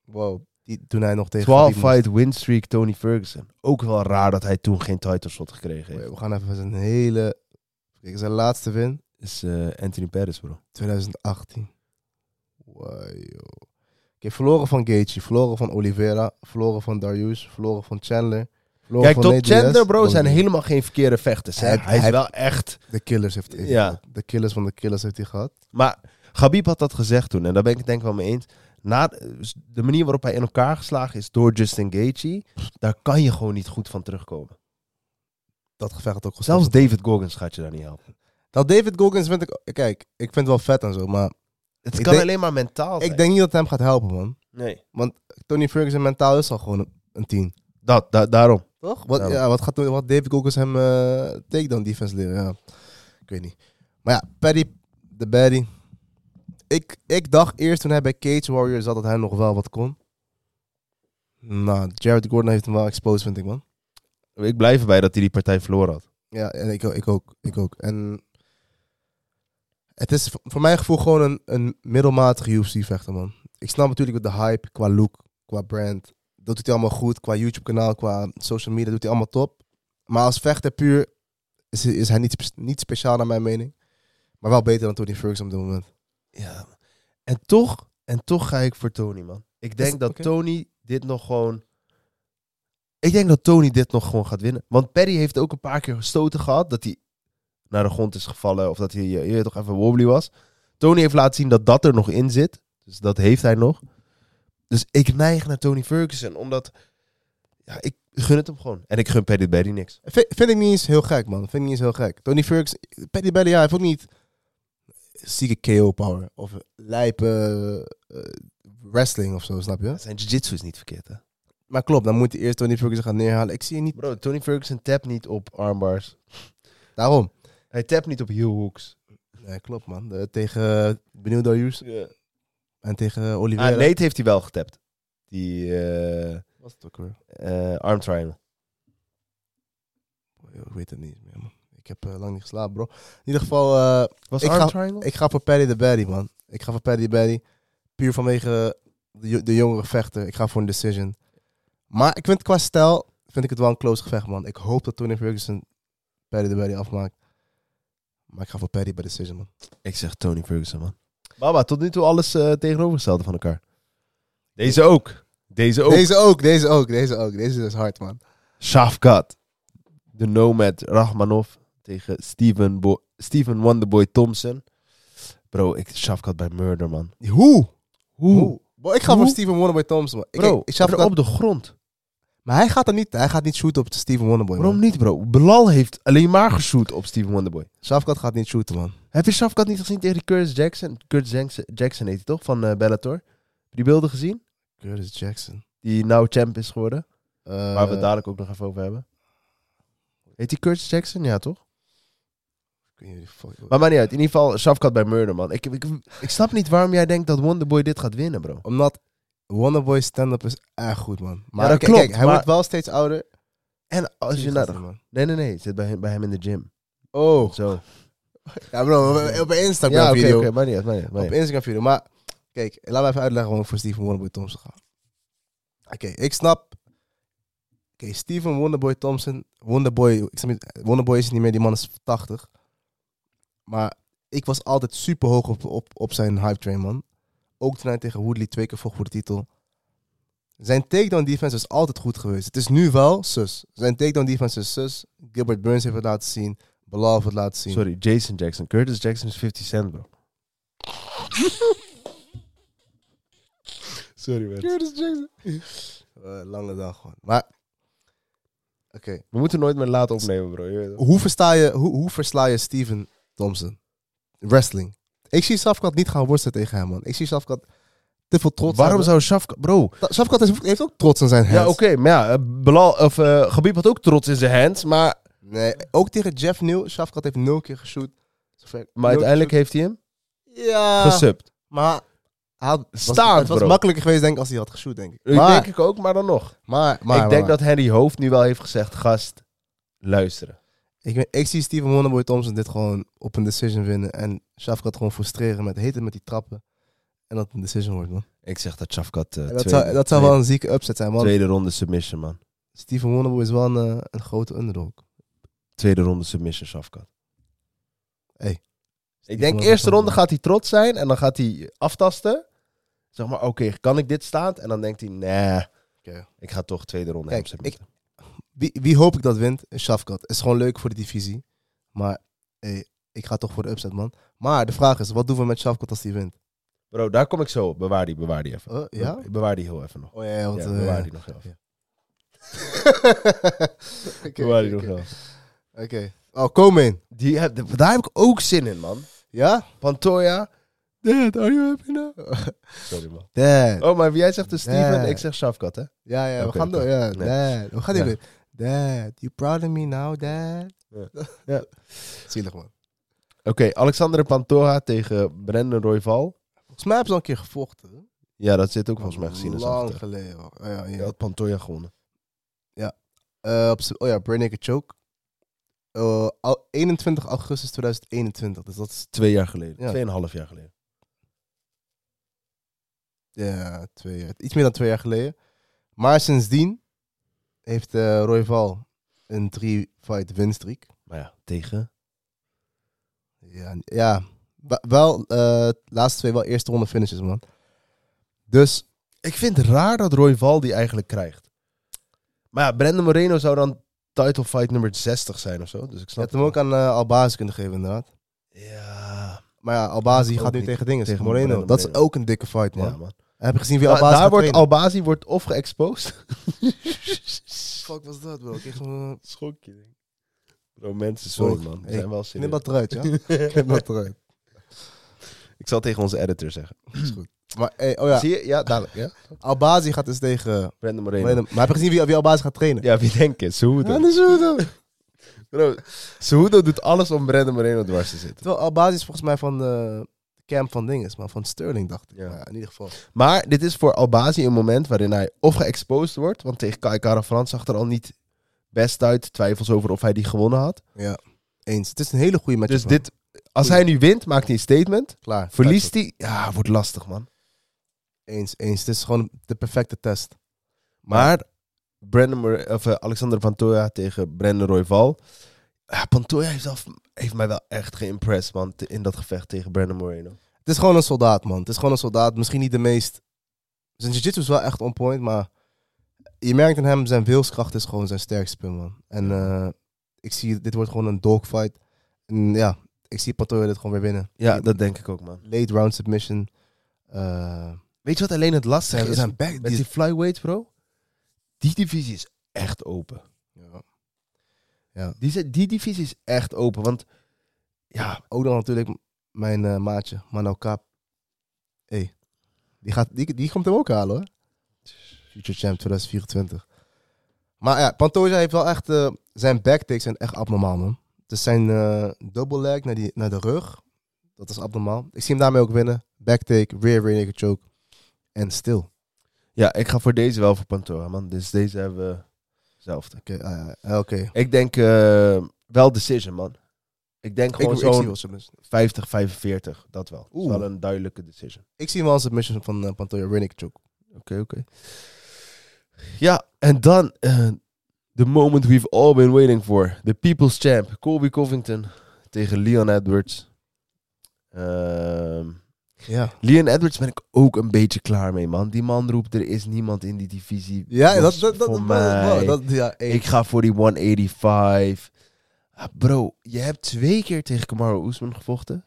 Wow. Die, toen hij nog tegen...
12
Khabib moest-
fight win streak Tony Ferguson. Ook wel raar dat hij toen geen title shot gekregen heeft.
Oh We gaan even zijn hele... Kijk, zijn laatste win.
Is eh, Anthony Pettis, bro.
2018. Wow, joh. Oké, verloren van Gaethje, verloren van Oliveira, verloren van Darius, verloren van Chandler. verloren
Kijk,
van
tot
Nate Diaz.
Chandler, bro, zijn
Bobby-
helemaal geen verkeerde vechters. Hè?
Hij-
Hij is
hij-
wel echt...
De killers heeft hij
Ja.
gehad. De killers van de killers heeft hij gehad.
Maar Gabib had dat gezegd toen, en daar ben ik het denk ik wel mee eens. Na, de manier waarop hij in elkaar geslagen is door Justin Gaethje, daar kan je gewoon niet goed van terugkomen.
Dat gevecht had ook gestopt.
Zelfs David Goggins gaat je daar niet helpen.
Dat David Goggins vind ik... Kijk, ik vind het wel vet en zo, maar...
Het
Ik
kan
denk-
alleen maar mentaal zijn.
Ik denk niet dat het hem gaat helpen, man.
Nee.
Tony Ferguson mentaal is al gewoon een- een 10.
Dat, da- daarom.
Toch? Wat,
Ja.
ja, wat gaat wat David Goggins hem eh takedown defense leren? Ja. Ik weet niet. Maar ja, Paddy, de baddie. Ik, ik dacht eerst toen hij bij Cage Warrior zat dat hij nog wel wat kon. Nou, Jared Gordon heeft hem wel exposed, vind ik, man.
Ik blijf erbij dat hij die partij verloren had.
Ja, en ik, ook- ik ook. Ik ook. En het is v- voor mijn gevoel gewoon een, een middelmatige UFC-vechter, man. Ik snap natuurlijk de hype qua look, qua brand. Dat doet hij allemaal goed. Qua YouTube-kanaal, qua social media doet hij allemaal top. Maar als vechter puur is, hij- is hij niet, spe- niet speciaal naar mijn mening. Maar wel beter dan Tony Ferguson op dit moment.
Ja. En toch, en toch ga ik voor Tony, man. Ik denk
Is-
dat
oké.
Tony dit nog gewoon... Ik denk dat Tony dit nog gewoon gaat winnen. Want Perry heeft ook een paar keer gestoten gehad dat hij naar de grond is gevallen. Of dat hij eh, je, je toch even wobbly was. Tony heeft laten zien dat dat er nog in zit. Dus dat heeft hij nog. Dus ik neig naar Tony Ferguson. Omdat ja, ik gun het hem gewoon. En ik gun Paddy Baddy niks.
Vind, vind ik niet eens heel gek, man. Vind ik niet eens heel gek. Tony Ferguson, Paddy Belly, ja, heeft ook niet zieke KO-power. Of lijpe eh, wrestling of zo, snap je?
Zijn jiu-jitsu is niet verkeerd, hè?
Maar klopt, dan moet hij eerst Tony Ferguson gaan neerhalen. Ik zie je niet.
Bro, Tony Ferguson tapt niet op armbars.
Daarom.
Hij tapt niet op heel hooks.
Nee, klopt, man. De- tegen Benildo Hughes en tegen eh, Oliveira.
Ah, Nate heeft hij wel getapt. Die eh,
Was het ook weer?
eh, arm triangle.
Yo, Ik weet het niet meer, man. Ik heb eh, lang niet geslapen, bro. In ieder geval, eh,
Was
Ik
arm
ga-
triangle?
ik ga voor Paddy de Baddy, man. Ik ga voor Paddy de Baddy. Puur vanwege de, jo- de jongere vechter. Ik ga voor een decision. Maar ik vind qua stijl, vind ik het wel een close gevecht, man. Ik hoop dat Tony Ferguson Paddy de Baddy afmaakt. Maar ik ga voor Paddy bij decision, man.
Ik zeg Tony Ferguson, man. Baba, tot nu toe alles eh tegenovergestelde van elkaar. Deze ook. Deze ook.
Deze ook, deze ook, deze ook. Deze is hard, man.
Shafkat. De Nomad Rahmanov tegen Steven, Bo- Steven Wonderboy Thompson. Bro, ik Shafkat bij Murder, man.
Hoe?
Hoe?
Bro, ik ga
Hoe?
voor Steven Wonderboy Thompson, man. Ik,
Bro,
ik, ik snap dat-
op de grond.
maar hij gaat, er niet, hij gaat niet shooten op Steven Wonderboy, man.
Waarom niet, bro? Belal heeft alleen maar geshoot op Steven Wonderboy.
Shafkat gaat niet shooten, man.
Heb je Shafkat niet gezien tegen die Curtis Jackson? Curtis Jackson, Jackson heet hij toch? Van eh, Bellator. Heb je Die beelden gezien?
Curtis Jackson.
Die nou champ is geworden.
Eh,
Waar we het dadelijk ook nog even over hebben. Heet die Curtis Jackson? Ja, toch?
ik weet niet wie de fuck-
Maar maakt niet uit. In ieder geval, Shafkat bij Murder, man. Ik, ik, ik snap niet waarom jij denkt dat Wonderboy dit gaat winnen, bro.
Omdat Wonderboy stand-up is echt goed, man. Maar
dat
kijk,
klopt,
Kijk, hij
maar-
wordt wel steeds ouder.
En als je
Zie
naar...
gasten, man.
Nee, nee, nee. Het zit bij hem, bij hem in de gym.
Oh,
Zo.
ja bro, op- op een Instagram
ja, oké,
video.
oké, maakt niet uit, maakt niet uit, maakt
Op
niet
een Instagram video. Maar kijk, laat me even uitleggen waarom ik voor Steven Wonderboy Thompson ga. Oké, ik snap. Oké, Steven Wonderboy Thompson. Wonderboy, ik snap niet, Wonderboy is het niet meer, die man is 80. Maar ik was altijd super hoog op, op, op zijn hype train, man. Ook toen hij tegen Woodley twee keer vocht voor de titel. Zijn takedown defense is altijd goed geweest. Het is nu wel sus. Zijn takedown defense is sus. Gilbert Burns heeft het laten zien. Belal heeft het laten zien.
uit. Sorry, Jason Jackson. Curtis Jackson is 50 cent, bro. Sorry, man.
Eh, lange dag gewoon. Maar, oké.
We moeten nooit meer laten opnemen, bro. Je weet het.
hoe, versta je, hoe, hoe versla je Steven Thompson? Wrestling. Ik zie Safkat niet gaan worstelen tegen hem, man. Ik zie Safkat te veel trots
Waarom zou
hebben.
Shafkat... Bro,
Ta- Safkat is- heeft ook trots in zijn
Ja,
hands.
oké. maar ja, eh, Belal, of, eh Gabib had ook trots in zijn hands. Maar,
Nee, ook tegen Jeff Neal. Safkat heeft nul keer geshoot. Zover- nul
maar uiteindelijk heeft hij hem
keer-
Ah.
Ja,
gesubt.
maar... Hij had, was,
Staand,
het was
bro.
makkelijker geweest, denk ik, als hij had geshoot, denk ik. Maar,
denk ik ook, maar dan nog.
maar, maar,
ik denk
maar.
dat Henry Hoofd nu wel heeft gezegd, gast, luisteren.
Ik, weet- ik zie Steven Wonderboy Thompson dit gewoon op een decision winnen. En Safkat gewoon frustreren met heten met die trappen. En dat het een decision wordt, man.
Ik zeg dat Shafkat eh
En
tweede,
dat, zou, dat zou wel een zieke upset zijn, man.
tweede, tweede ronde submission, man.
Steven Wonderboy is wel een, eh, een grote underdog.
Tweede ronde submission, Shafkat.
Hey.
Ik denk, eerste ronde gaat hij trots zijn en dan gaat hij aftasten. Zeg maar, oké, kan ik dit staan? En dan denkt hij, nee,
Oké.
ik ga toch tweede ronde
Kijk,
hem submitten.
Wie, wie hoop ik dat wint? Is Shafkat. Is gewoon leuk voor de divisie. Maar hey, ik ga toch voor de upset, man. Maar de vraag is, wat doen we met Shafkat als die wint?
Bro, daar kom ik zo op. Bewaar die, bewaar die even.
Eh, ja?
Bewaar die heel even nog.
Oh ja, ja, want...
Ja,
eh,
bewaar die nog heel even.
Oké,
Doe maar die
oké,
nog wel.
Oké. Oh, kom in.
Die heb, de- daar heb ik ook zin in, man.
Ja?
Pantoja. Dad, are you happy now? Sorry, man.
Dad.
Oh, maar jij zegt dus Steven,
Dad.
ik zeg Shafkat, hè?
Ja, ja, we
Oké,
gaan door.
oké.
Ja,
Nee.
dad. We gaan die
Ja.
weer. Dad, you proud of me now, dad?
Ja.
ja. Zielig, man.
Oké, Alexander Pantoja tegen Brendan Royval.
Volgens mij hebben ze al een keer gevochten. hè?
Ja, dat zit ook volgens mij gezien. als
Lang
achter.
geleden. hoor. Oh, ja, ja.
Ja, had Pantoja gewonnen.
Eh, op z'n- oh ja, Brain Naked Choke. Eh, al- 21 augustus 2021. Dus dat is
Twee jaar geleden.
Ja.
Tweeënhalf jaar geleden.
ja, twee jaar, iets meer dan twee jaar geleden. Maar sindsdien heeft eh Royval een 3-fight winstreak.
Maar ja, tegen...
Ja, ja Wa- wel, eh laatste twee wel eerste ronde finishes, man. Dus
Ik vind het raar dat Royval die eigenlijk krijgt. Maar ja, Brendan Moreno zou dan title fight nummer 60 zijn of zo. Dus ik
Je
snap
hebt hem ook aan eh Albazi kunnen geven, inderdaad.
Ja.
Maar ja, Albazi
Ook
gaat nu
niet.
tegen dingen.
Tegen
Tegen Moreno.
Moreno.
Dat is ook een dikke fight, man.
Ja, man.
Heb je gezien wie
Da-
Albazi
daar
gaat
wordt
trainen?
Albazi wordt of geëxposed.
Fuck, was dat, bro? Ik kreeg gewoon-
Schokje, denk ik. Bro, mensen, sorry
Bro,
man. We
hey,
zijn wel
Knip
serieus.
dat eruit, ja? Knip dat eruit.
Ik zal tegen onze editor zeggen.
Is goed. Maar, hey, oh ja,
Zie je? Ja, dadelijk. Ja?
Albazi gaat dus tegen...
Brandon Moreno.
Moreno. Maar heb je gezien wie, wie Albazi gaat trainen?
Ja, wie denkt het? Cejudo.
Ja, dat is goed, hoor.
Bro, Cejudo doet alles om Brandon Moreno dwars te zitten.
Terwijl Albazi is volgens mij van eh, de camp van dinges, maar van Sterling dacht ik.
Ja.
Ja. in ieder geval.
Maar dit is voor Albazi een moment waarin hij of geëxposed wordt, want tegen Kai Kara Frans zag er al niet best uit, twijfels over of hij die gewonnen had.
Eens. Het is een hele goede match.
Dus
man.
dit, als hij nu wint, maakt hij een statement.
klaar.
Verliest hij, ja, wordt lastig man.
Eens, eens. Het is gewoon de perfecte test.
Maar Brandon, Mor- of, eh, Alexander Pantoja tegen Brandon Royval. Ja, Pantoja heeft, al- heeft mij wel echt geïmpressed, man, te- in dat gevecht tegen Brandon Moreno.
Het is gewoon een soldaat, man. Het is gewoon een soldaat. Misschien niet de meest. Zijn jiu-jitsu is wel echt on point, maar je merkt in hem, zijn wilskracht is gewoon zijn sterkste punt, man. En eh, ik zie, dit wordt gewoon een dogfight. En ja, ik zie Patoja dit gewoon weer winnen.
Ja, dat denk ik ook, man.
Late round submission. Eh
Weet je wat alleen het lastige
we
is?
zijn back.
Met die flyweights, bro. Die divisie is echt open.
Ja.
Die, zijn- die divisie is echt open. Want ja,
Ook dan natuurlijk mijn eh, maatje, Mano Kaap. Hey, die, gaat, die, die komt hem ook halen hoor. Future Champ 2024. Maar ja, Pantoja heeft wel echt... eh, zijn backtakes zijn echt abnormaal man. Dus zijn eh double leg naar, die, naar de rug. Dat is abnormaal. Ik zie hem daarmee ook winnen. Backtake, rear rear naked choke. En stil.
ja, ik ga voor deze wel voor Pantoja, man. Dus deze hebben we hetzelfde.
Oké, ah ja, eh, oké.
Ik denk eh, wel decision, man. Ik denk
Ik,
gewoon
ik, zie wel
zo'n
submission.
50-45. Dat wel. Dat is
Oeh.
wel een duidelijke decision.
ik zie wel een submission van eh, Pantoja, rear naked choke.
Oké, oké. Ja, en dan eh, the moment we've all been waiting for. The People's Champ, Colby Covington tegen Leon Edwards. Ehm,
Ja,
Leon Edwards ben ik ook een beetje klaar mee, man. Die man roept, er is niemand in die divisie.
ja dat,
Was
dat, dat,
voor
dat,
mij.
dat- ja, hey.
Ik ga voor die 185. Ah, bro, je hebt twee keer tegen Kamaru Usman gevochten.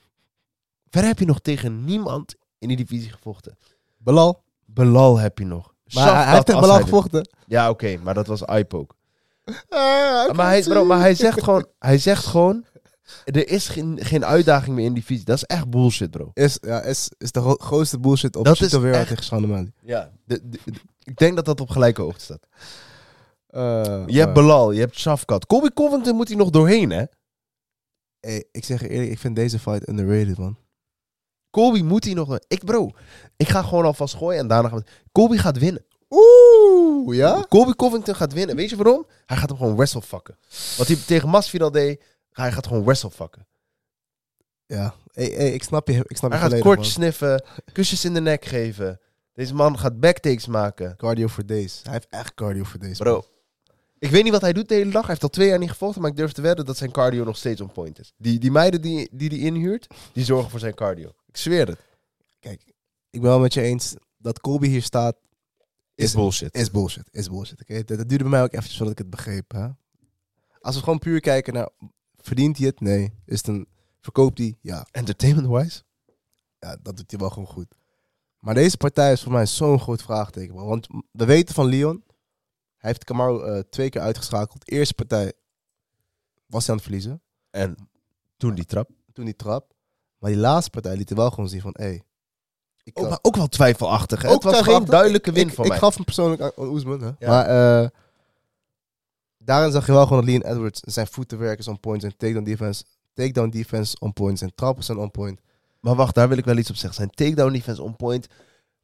Verder heb je nog tegen niemand in die divisie gevochten.
Belal.
Belal heb je nog.
Maar
Shafkat
hij Ah, heeft echt
als
wel
hij er-
gevochten.
Ja, oké, maar dat was iPoke. Maar hij, bro, maar hij zegt gewoon, hij zegt gewoon, er is geen, geen uitdaging meer in die visie. Dat is echt bullshit, bro.
Is, ja, is, is de gro- grootste bullshit op
Dat
Chito
is
weer
echt-
tegen Sean O'Malley.
Ja. ik denk dat dat op gelijke hoogte staat.
Eh,
Je hebt
maar-
Belal, je hebt Shafkat. Colby Covington moet hij nog doorheen, hè?
Hey, ik zeg je eerlijk, ik vind deze fight underrated, man.
Colby moet hij nog... Ik, bro, ik ga gewoon alvast gooien en daarna gaan we... Colby gaat winnen.
Oeh, ja?
Colby Covington gaat winnen. Weet je waarom? Hij gaat hem gewoon wrestlefucken. Wat hij tegen Masvidal deed, hij gaat gewoon wrestlefucken.
Ja. Hey, hey, ik snap je, ik snap
Hij
je
gaat
volledig,
kort
man.
sniffen, kusjes in de nek geven. Deze man gaat backtakes maken.
Cardio for days. Hij heeft echt cardio for days. man.
Bro. Ik weet niet wat hij doet de hele dag. Hij heeft al twee jaar niet gevochten, maar ik durf te wedden dat zijn cardio nog steeds on point is. Die, die meiden die hij die die inhuurt, die zorgen voor zijn cardio. Ik zweer het.
Kijk, ik ben wel met je eens dat Colby hier staat. Is
bullshit.
Is bullshit, is bullshit. Oké, Dat, dat duurde bij mij ook eventjes voordat ik het begreep. Hè? Als we gewoon puur kijken naar, verdient hij het? Nee. Is het een, verkoopt hij? Ja.
Entertainment-wise?
ja, dat doet hij wel gewoon goed. Maar deze partij is voor mij zo'n groot vraagteken. bro. Want we weten van Leon, hij heeft Kamaru eh, twee keer uitgeschakeld. De eerste partij was hij aan het verliezen,
En toen die trap.
toen die trap. Maar die laatste partij liet hij wel gewoon zien van, hé. Hey, ik
Ook,
kan-
maar ook wel twijfelachtig. Hè?
Ook
het was geen
twijfelachtig.
duidelijke win
ik,
van
ik
mij.
gaf hem persoonlijk aan- aan Oesman, hè.
Ja.
Maar eh, daarin zag je wel gewoon dat Leon Edwards zijn voetenwerk is on point, zijn takedown defense, takedown defense on point, zijn trappen zijn on point.
Maar wacht, daar wil ik wel iets op zeggen. Zijn takedown defense on point.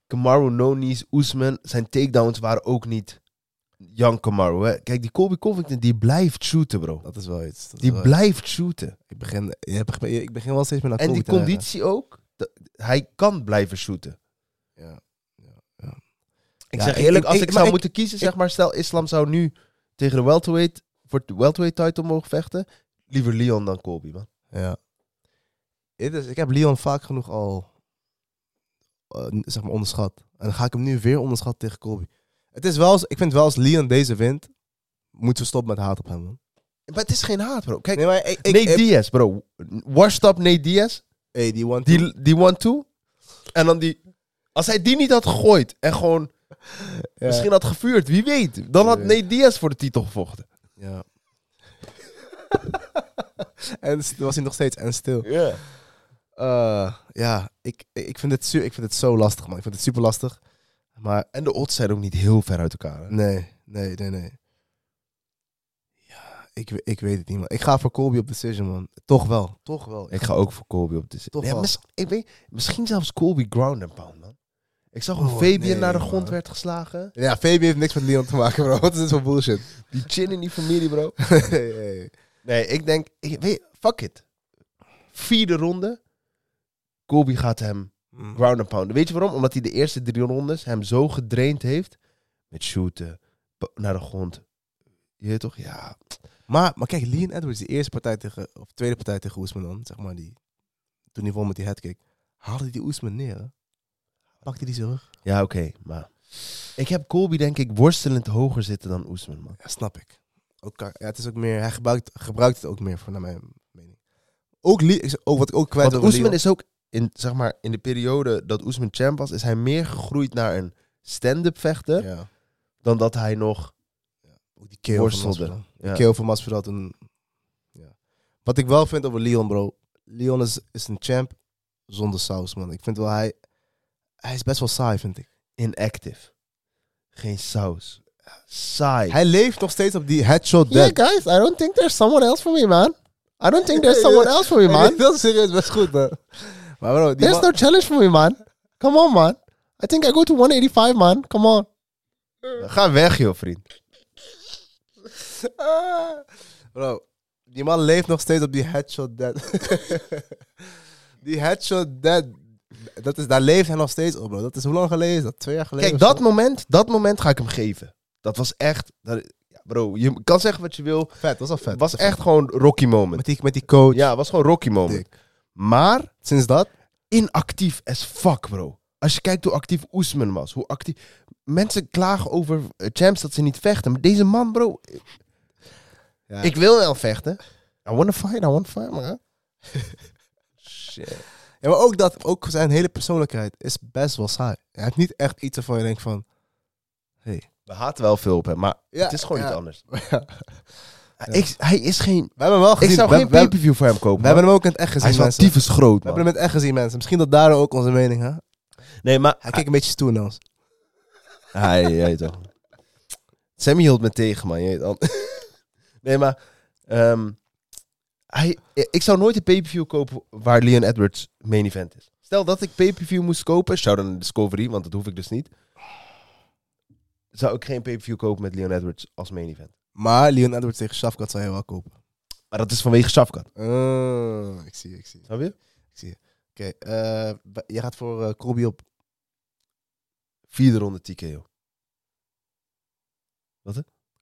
Kamaru, Nonis, Oesman. Zijn takedowns waren ook niet Young Kamaru. Hè? Kijk, die Colby Covington, die blijft shooten, bro.
Dat is wel iets. dat is
Die
wel-
blijft shooten.
ik, begin, je begint- ik begin wel steeds meer naar
En
Colby
die
te neigeren.
conditie ook. Dat- Hij kan blijven shooten.
Ja.
Ik
Ja,
zeg
ik-
eerlijk,
ik-
als
ik-
ik,
maar
zou
ik-
moeten kiezen,
ik-
zeg maar, stel Islam zou nu tegen de welterweight voor de welterweight title mogen vechten, liever Leon dan Colby, man.
Ja. Het is, ik heb Leon vaak genoeg al eh, zeg maar onderschat. En dan ga ik hem nu weer onderschatten tegen Colby. Het is wel, eens- ik vind wel als Leon deze wint, moeten we stoppen met haat op hem, man.
Maar het is geen haat, bro. Kijk,
Nee, maar ik... ik
Nate
ik-
Diaz, bro. Washed up Nate Diaz.
hey, die one two.
Die, die one-two. En dan die... Als hij die niet had gegooid en gewoon misschien had gevuurd, wie weet. Dan had
Wie
Nate Diaz voor de titel gevochten.
Ja. en s- was hij nog steeds en stil.
Ja.
Eh, ja, ik, ik, vind het su- ik vind het zo lastig, man. Ik vind het super lastig. Maar
En de odds zijn ook niet heel ver uit elkaar. hè.
nee, nee, nee, nee. Ja, ik, we- ik weet het niet, man. Ik ga voor Colby op decision, man. Toch wel, toch wel.
Ik ga ook voor Colby op de
Toch
ja,
wel.
mis- ik weet, Misschien zelfs Colby ground and pound, man. Ik zag hoe
Oh,
Fabian
nee,
naar de grond
man.
werd geslagen.
Ja, Fabi heeft niks met Leon te maken, bro. Wat is dit voor bullshit?
Die chin in die familie, bro.
Hey, hey.
Nee, ik denk... Ik, weet, fuck it. Vierde ronde. Colby gaat hem
Mm.
ground and pound. Weet je waarom? Omdat hij de eerste drie rondes hem zo gedraind heeft. Met shooten, pa- naar de grond. Je weet toch? Ja.
Maar, maar kijk, Leon Edwards, die eerste partij tegen, of tweede partij tegen Oesman dan, zeg maar, die, toen hij won met die headkick, haalde hij die Oesman neer, hè? Pakte die zo rug?
Ja, oké. maar ik heb Colby denk ik worstelend hoger zitten dan Oesman, man.
Ja, snap ik. Ook, ka- ja, het is ook meer, hij gebruikt, gebruikt het ook meer, voor naar mijn mening. Ook, Lee, ik zeg- ook wat ik ook kwijt
Want
over Leon-
Oesman is ook, in, zeg maar, in de periode dat Oesman champ was, is hij meer gegroeid naar een stand-up vechter
Ja,
dan dat hij nog...
ook die keel van
Worstelde.
Masvidal.
Ja.
Die keel van Masvidal toen... Ja. Wat ik wel vind over Leon, bro. Leon is, is een champ zonder saus, man. Ik vind wel, hij, hij is best wel saai, vind ik.
Inactive. Geen saus. Saai.
Hij leeft nog steeds op die headshot dead.
guys, I don't think there's someone else for me, man. I don't think
there's someone
else for me,
Dat is serieus best goed, man. Maar bro, die man-
challenge for me, man. Come on, man. I think I go to 185, man. Come on. Ga weg, joh, vriend.
Ah. Bro, die man leeft nog steeds op die headshot dead. die headshot dead. Dat is, daar leeft hij nog steeds op, bro. Dat is hoe lang geleden? Is dat twee jaar geleden?
Kijk,
of
dat
zo?
moment, dat moment ga ik hem geven. Dat was echt... dat- ja, bro, je kan zeggen wat je wil.
Vet, was al vet.
Het was echt gewoon Rocky moment.
Met die, met die coach.
Ja, het was gewoon Rocky moment.
Dik.
Maar
Sinds dat?
inactief as fuck, bro. Als je kijkt hoe actief Oesman was. Hoe actief... Mensen klagen over eh, champs dat ze niet vechten. Maar deze man, bro... eh,
Ja.
Ik wil wel vechten. I wanna fight, I wanna fight, man. Shit.
Ja, maar ook dat, ook zijn hele persoonlijkheid is best wel saai. Hij heeft niet echt iets waarvan je denkt van...
We haten wel veel op hem, maar
Ja,
het is gewoon
ja.
iets anders. Ik, hij is geen...
We hebben hem wel gezien.
Ik zou
we,
geen
we- we-
pay-per-view voor hem kopen,
we hebben
man.
hem ook in het echt gezien,
Hij is wel
mensen.
tyfus groot,
We
man.
hebben hem in het echt gezien, mensen. Misschien dat daar ook onze mening, hè?
Nee, maar...
Hij keek een beetje stoer naar ons.
Hij, jij toch. Sammy hield me tegen, man. Je weet al. nee, maar... ehm, hij, ik zou nooit een pay-per-view kopen waar Leon Edwards main event is. Stel dat ik pay-per-view moest kopen... Shout-out naar Discovery, want dat hoef ik dus niet. Zou ik geen pay-per-view kopen met Leon Edwards als main event.
Maar Leon Edwards tegen Shafkat zou je wel kopen.
Maar dat is vanwege Shafkat.
Ah, ik zie, ik zie.
Snap je?
Oké, eh, b- jij gaat voor eh, Colby op.
Vierde ronde TKO.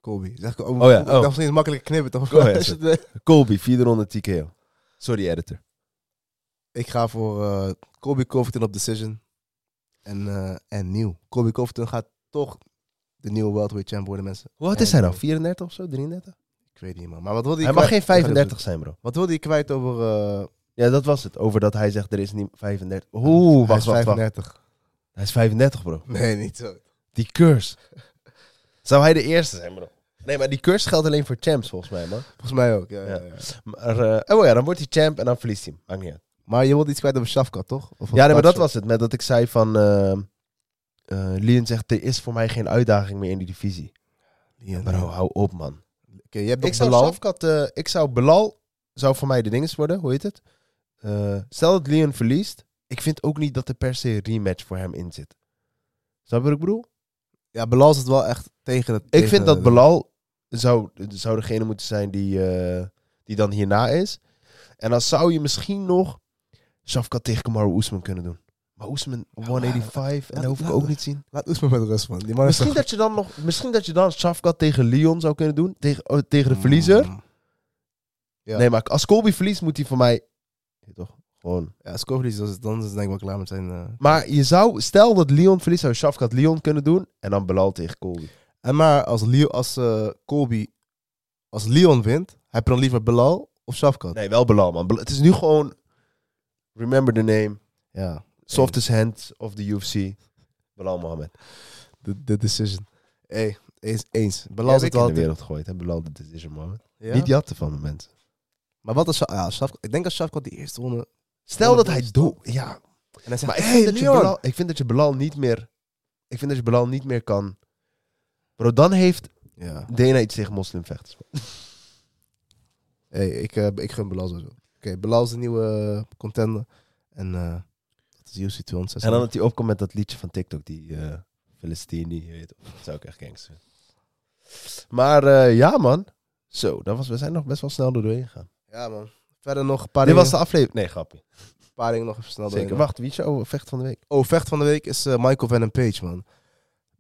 Colby. Zeg, ik-
Oh ja, oh.
Dat is niet makkelijker knippen, toch?
Go ahead, Colby, vierde ronde TKO. Sorry, editor.
ik ga voor eh Colby Covington op decision. En, eh, en nieuw. Colby Covington gaat toch de nieuwe welterweight champ worden, mensen.
Hoe oud is hij dan? 34 of zo? 33?
Ik weet niet, man. Maar wat wilde je
Hij mag
kwijt-
geen 35 zijn, bro.
Wat wilde je kwijt over... eh
Ja, dat was het. Over dat hij zegt, er is niet 35. Oeh,
hij
wacht,
is
wacht, wacht.
35.
Hij is 35, bro.
Nee, niet zo.
Die curse. Zou hij de eerste zijn, bro? Nee, maar die curse geldt alleen voor champs, volgens mij, man.
Volgens mij ook, ja.
Ja.
ja, ja.
Maar, eh, oh ja, dan wordt hij champ en dan verliest hij hem. Maakt niet uit.
Maar je wilde iets kwijt over Shafkat, toch? Of
Ja, nee, maar dat
Shafkat?
was het. Met dat ik zei van... eh eh, Leon zegt, er is voor mij geen uitdaging meer in die divisie.
Ja, nee.
Bro, hou op, man.
Oké, je hebt
Ik
nog
zou
Belal.
Shafkat, eh, ik zou Belal, zou voor mij de dinges worden, hoe heet het? Eh, stel dat Leon verliest, ik vind ook niet dat er per se een rematch voor hem in zit. Snap je wat ik bedoel?
Ja, Belal zit wel echt tegen het...
Ik vind dat Belal zou, zou degene moeten zijn die, eh, die dan hierna is. En dan zou je misschien nog Shafkat tegen Kamaru Oesman kunnen doen. Maar Oesman 185, en dat hoef ik ook niet te zien.
Laat Oesman met rust, man. Die man
Misschien
is
dat je dan nog, misschien dat je dan Shafkat tegen Leon zou kunnen doen, tegen, oh, tegen de verliezer.
Ja.
Nee, maar als Colby verliest, moet hij voor mij. Ja, toch? Gewoon.
Ja, als Kovacic is, dan is dan is het denk ik wel klaar met zijn... eh.
Maar je zou, stel dat Leon verliest, zou Shafkat Leon kunnen doen. En dan Belal tegen Colby.
En maar als, Leo, als eh, Colby Als Leon wint, heb je dan liever Belal of Shafkat?
Nee, wel Belal, man. Bel- Het is nu gewoon... Remember the name.
Ja,
Softest hand of the UFC. Belal Mohammed.
de, de decision. hey, eens. eens. Belal
Belal
zit
in
wel
de
altijd-
wereld gegooid. Hè? Belal, dit is er, Mohammed.
Ja?
Niet jatten van de mensen.
Maar wat als... Sha- Ja, Shafkat, ik denk als Shafkat die eerste ronde...
Stel Oh, dat hij doet. Ja,
En hij zegt,
maar ik
hey,
vind, dat je
Leon!
Belal, ik vind dat je Belal niet meer... Ik vind dat je Belal niet meer kan... Bro, dan heeft
Ja.
Dana iets tegen moslimvechters.
hey, ik, eh, ik gun Belal sowieso. Oké, Belal is de nieuwe eh, contender. En eh, dat is UFC 260.
En dan dat hij opkomt met dat liedje van TikTok, die eh, Felistini, je weet het. Dat zou ik echt gangster vinden. Maar eh, ja, man. Zo, dat was, we zijn nog best wel snel er doorheen gegaan.
Ja, man. Verder nog een paar
Dit
dingen.
was de aflevering. Nee, grapje.
een paar dingen nog even snel
Zeker.
doorheen.
Wacht, wie is jouw vecht van de week?
Oh, vecht van de week is eh, Michael Van Page, man.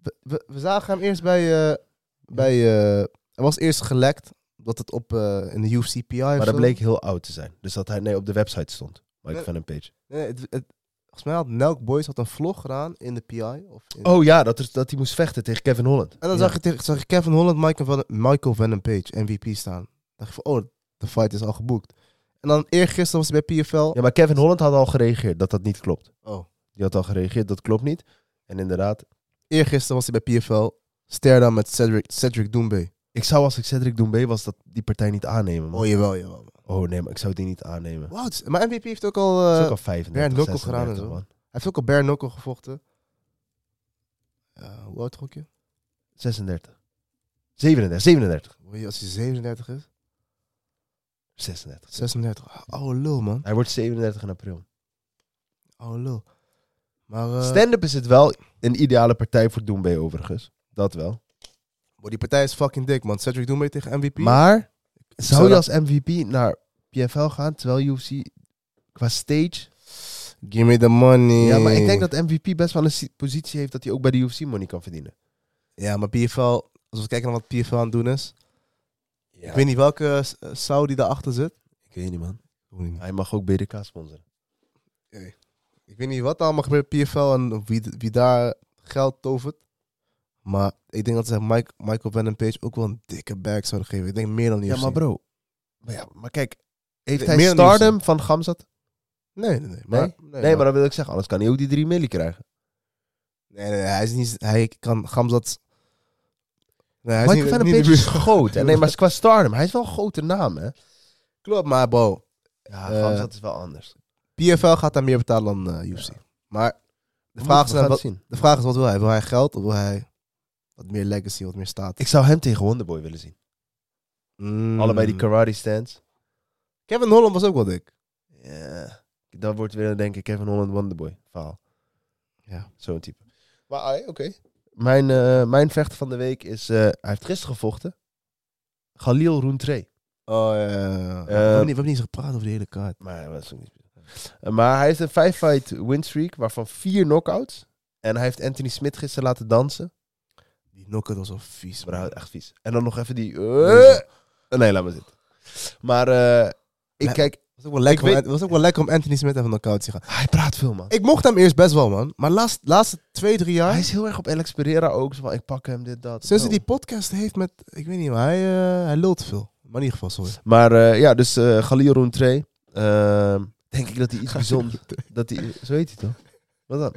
We, we, we zagen hem eerst bij... eh, bij eh, hij was eerst gelekt. Dat het op eh, in de UFC PI
Maar dat bleek heel oud te zijn. Dus dat hij nee, op de website stond. Mike
Nee.
van een page.
Nee, het, het- volgens mij had Nelk Boys had een vlog gedaan in de PI. Of in-
Oh ja, dat, er, dat hij moest vechten tegen Kevin Holland.
En dan
Ja.
zag, je, tegen- zag je Kevin Holland, Michael Van, Michael Van Page, MVP staan. dacht je van, oh, de fight is al geboekt. En dan eergisteren was hij bij PFL.
Ja, maar Kevin Holland had al gereageerd dat dat niet klopt.
Oh.
Die had al gereageerd, dat klopt niet. En inderdaad,
Eergisteren was hij bij PFL. Sterda met Cedric, Cedric Doumbé.
ik zou als ik Cedric Doumbé was, dat die partij niet aannemen. man.
Oh, jawel, jawel. man.
Oh nee, maar ik zou die niet aannemen.
Wat? Maar MVP heeft ook al... eh,
Het is ook al 35,
Bernd Lokkel gedaan en
36,
zo.
man.
Hij heeft ook al bare knuckle gevochten. Eh, hoe oud gok je?
36. 37, 37.
Hoor je Als hij 37 is?
36.
36. Oh, lul, man.
Hij wordt 37 in april.
Oh, lul. Maar... eh,
Stand-up is het wel een ideale partij voor Doembe overigens. Dat wel.
Bro, die partij is fucking dik, man. Cedric Doumbé tegen MVP.
Maar zou
zou
je
dat-
als MVP naar PFL gaan terwijl UFC qua stage...
Give me the money.
Ja, maar ik denk dat MVP best wel een si- positie heeft dat hij ook bij de UFC money kan verdienen.
Ja, maar PFL... Als we kijken naar wat PFL aan het doen is... Ik weet niet welke eh, Saudi daarachter zit.
ik weet niet man. Hij mag ook BDK sponsoren.
Ik weet niet wat er allemaal gebeurt bij PFL en wie, wie daar geld tovert. Maar ik denk dat ze Mike, Michael Van Page ook wel een dikke bag zouden geven. Ik denk meer dan UFC.
Ja, maar bro. Maar, ja, maar kijk, heeft
Nee,
hij
meer dan UFC.
stardom van Gamzat?
Nee, nee, nee. Maar,
Nee? Nee, maar dan wil ik zeggen, anders kan hij ook die 3 milli krijgen.
nee, nee, hij is niet... Hij kan Gamzat... Nee, hij is
Michael
niet,
Van een
niet in de
beetje is
buurt.
groot. hè. Nee, maar qua stardom, hij is wel een grote naam, hè?
Klopt, maar bro.
Ja,
Eh,
Gamzat is wel anders.
PFL gaat daar meer betalen dan eh, UFC.
Ja.
Maar
We
de vraag, is,
moeten- we gaan
dan
het
wat,
zien.
de vraag is, wat wil hij? Wil hij geld of wil hij wat meer legacy, wat meer staat?
Ik zou hem tegen Wonderboy willen zien.
Mm.
Allebei die karate stands.
Kevin Holland was ook wel dik.
Ja. Dan wordt weer, denk ik, Kevin Holland Wonderboy verhaal.
Ja.
Zo'n type. Maar ah, oké. Mijn, eh, mijn vechter van de week is... eh, hij heeft gisteren gevochten. Khalil Rountree.
Oh, ja.
Eh,
we, hebben niet, we hebben niet zo gepraat over de hele kaart.
Maar dat was ook niet Eh, Maar hij heeft een 5-fight winstreak, waarvan vier knockouts. En hij heeft Anthony Smith gisteren laten dansen.
Die knockout was al vies,
Maar
bro.
hij- echt vies. En dan nog even die... eh, Nee, laat maar zitten. Maar eh, ik
Nee.
kijk...
was ook wel lekker,
Ik
om, was ook wel lekker om Anthony Smith even knockout te gaan.
Hij praat veel, man.
Ik mocht hem eerst best wel, man. Maar laatst, laatste twee, drie jaar...
Hij is heel erg op Alex Pereira ook. Zo van, ik pak hem, dit, dat. Nou.
sinds
Wow.
hij die podcast heeft met... Ik weet niet, maar hij, eh hij lult veel. Maar in ieder geval, sorry.
Maar eh, ja, dus eh Galil Rountree. ehm, denk ik dat hij iets bijzonders... dat hij, zo heet hij toch? Wat dan?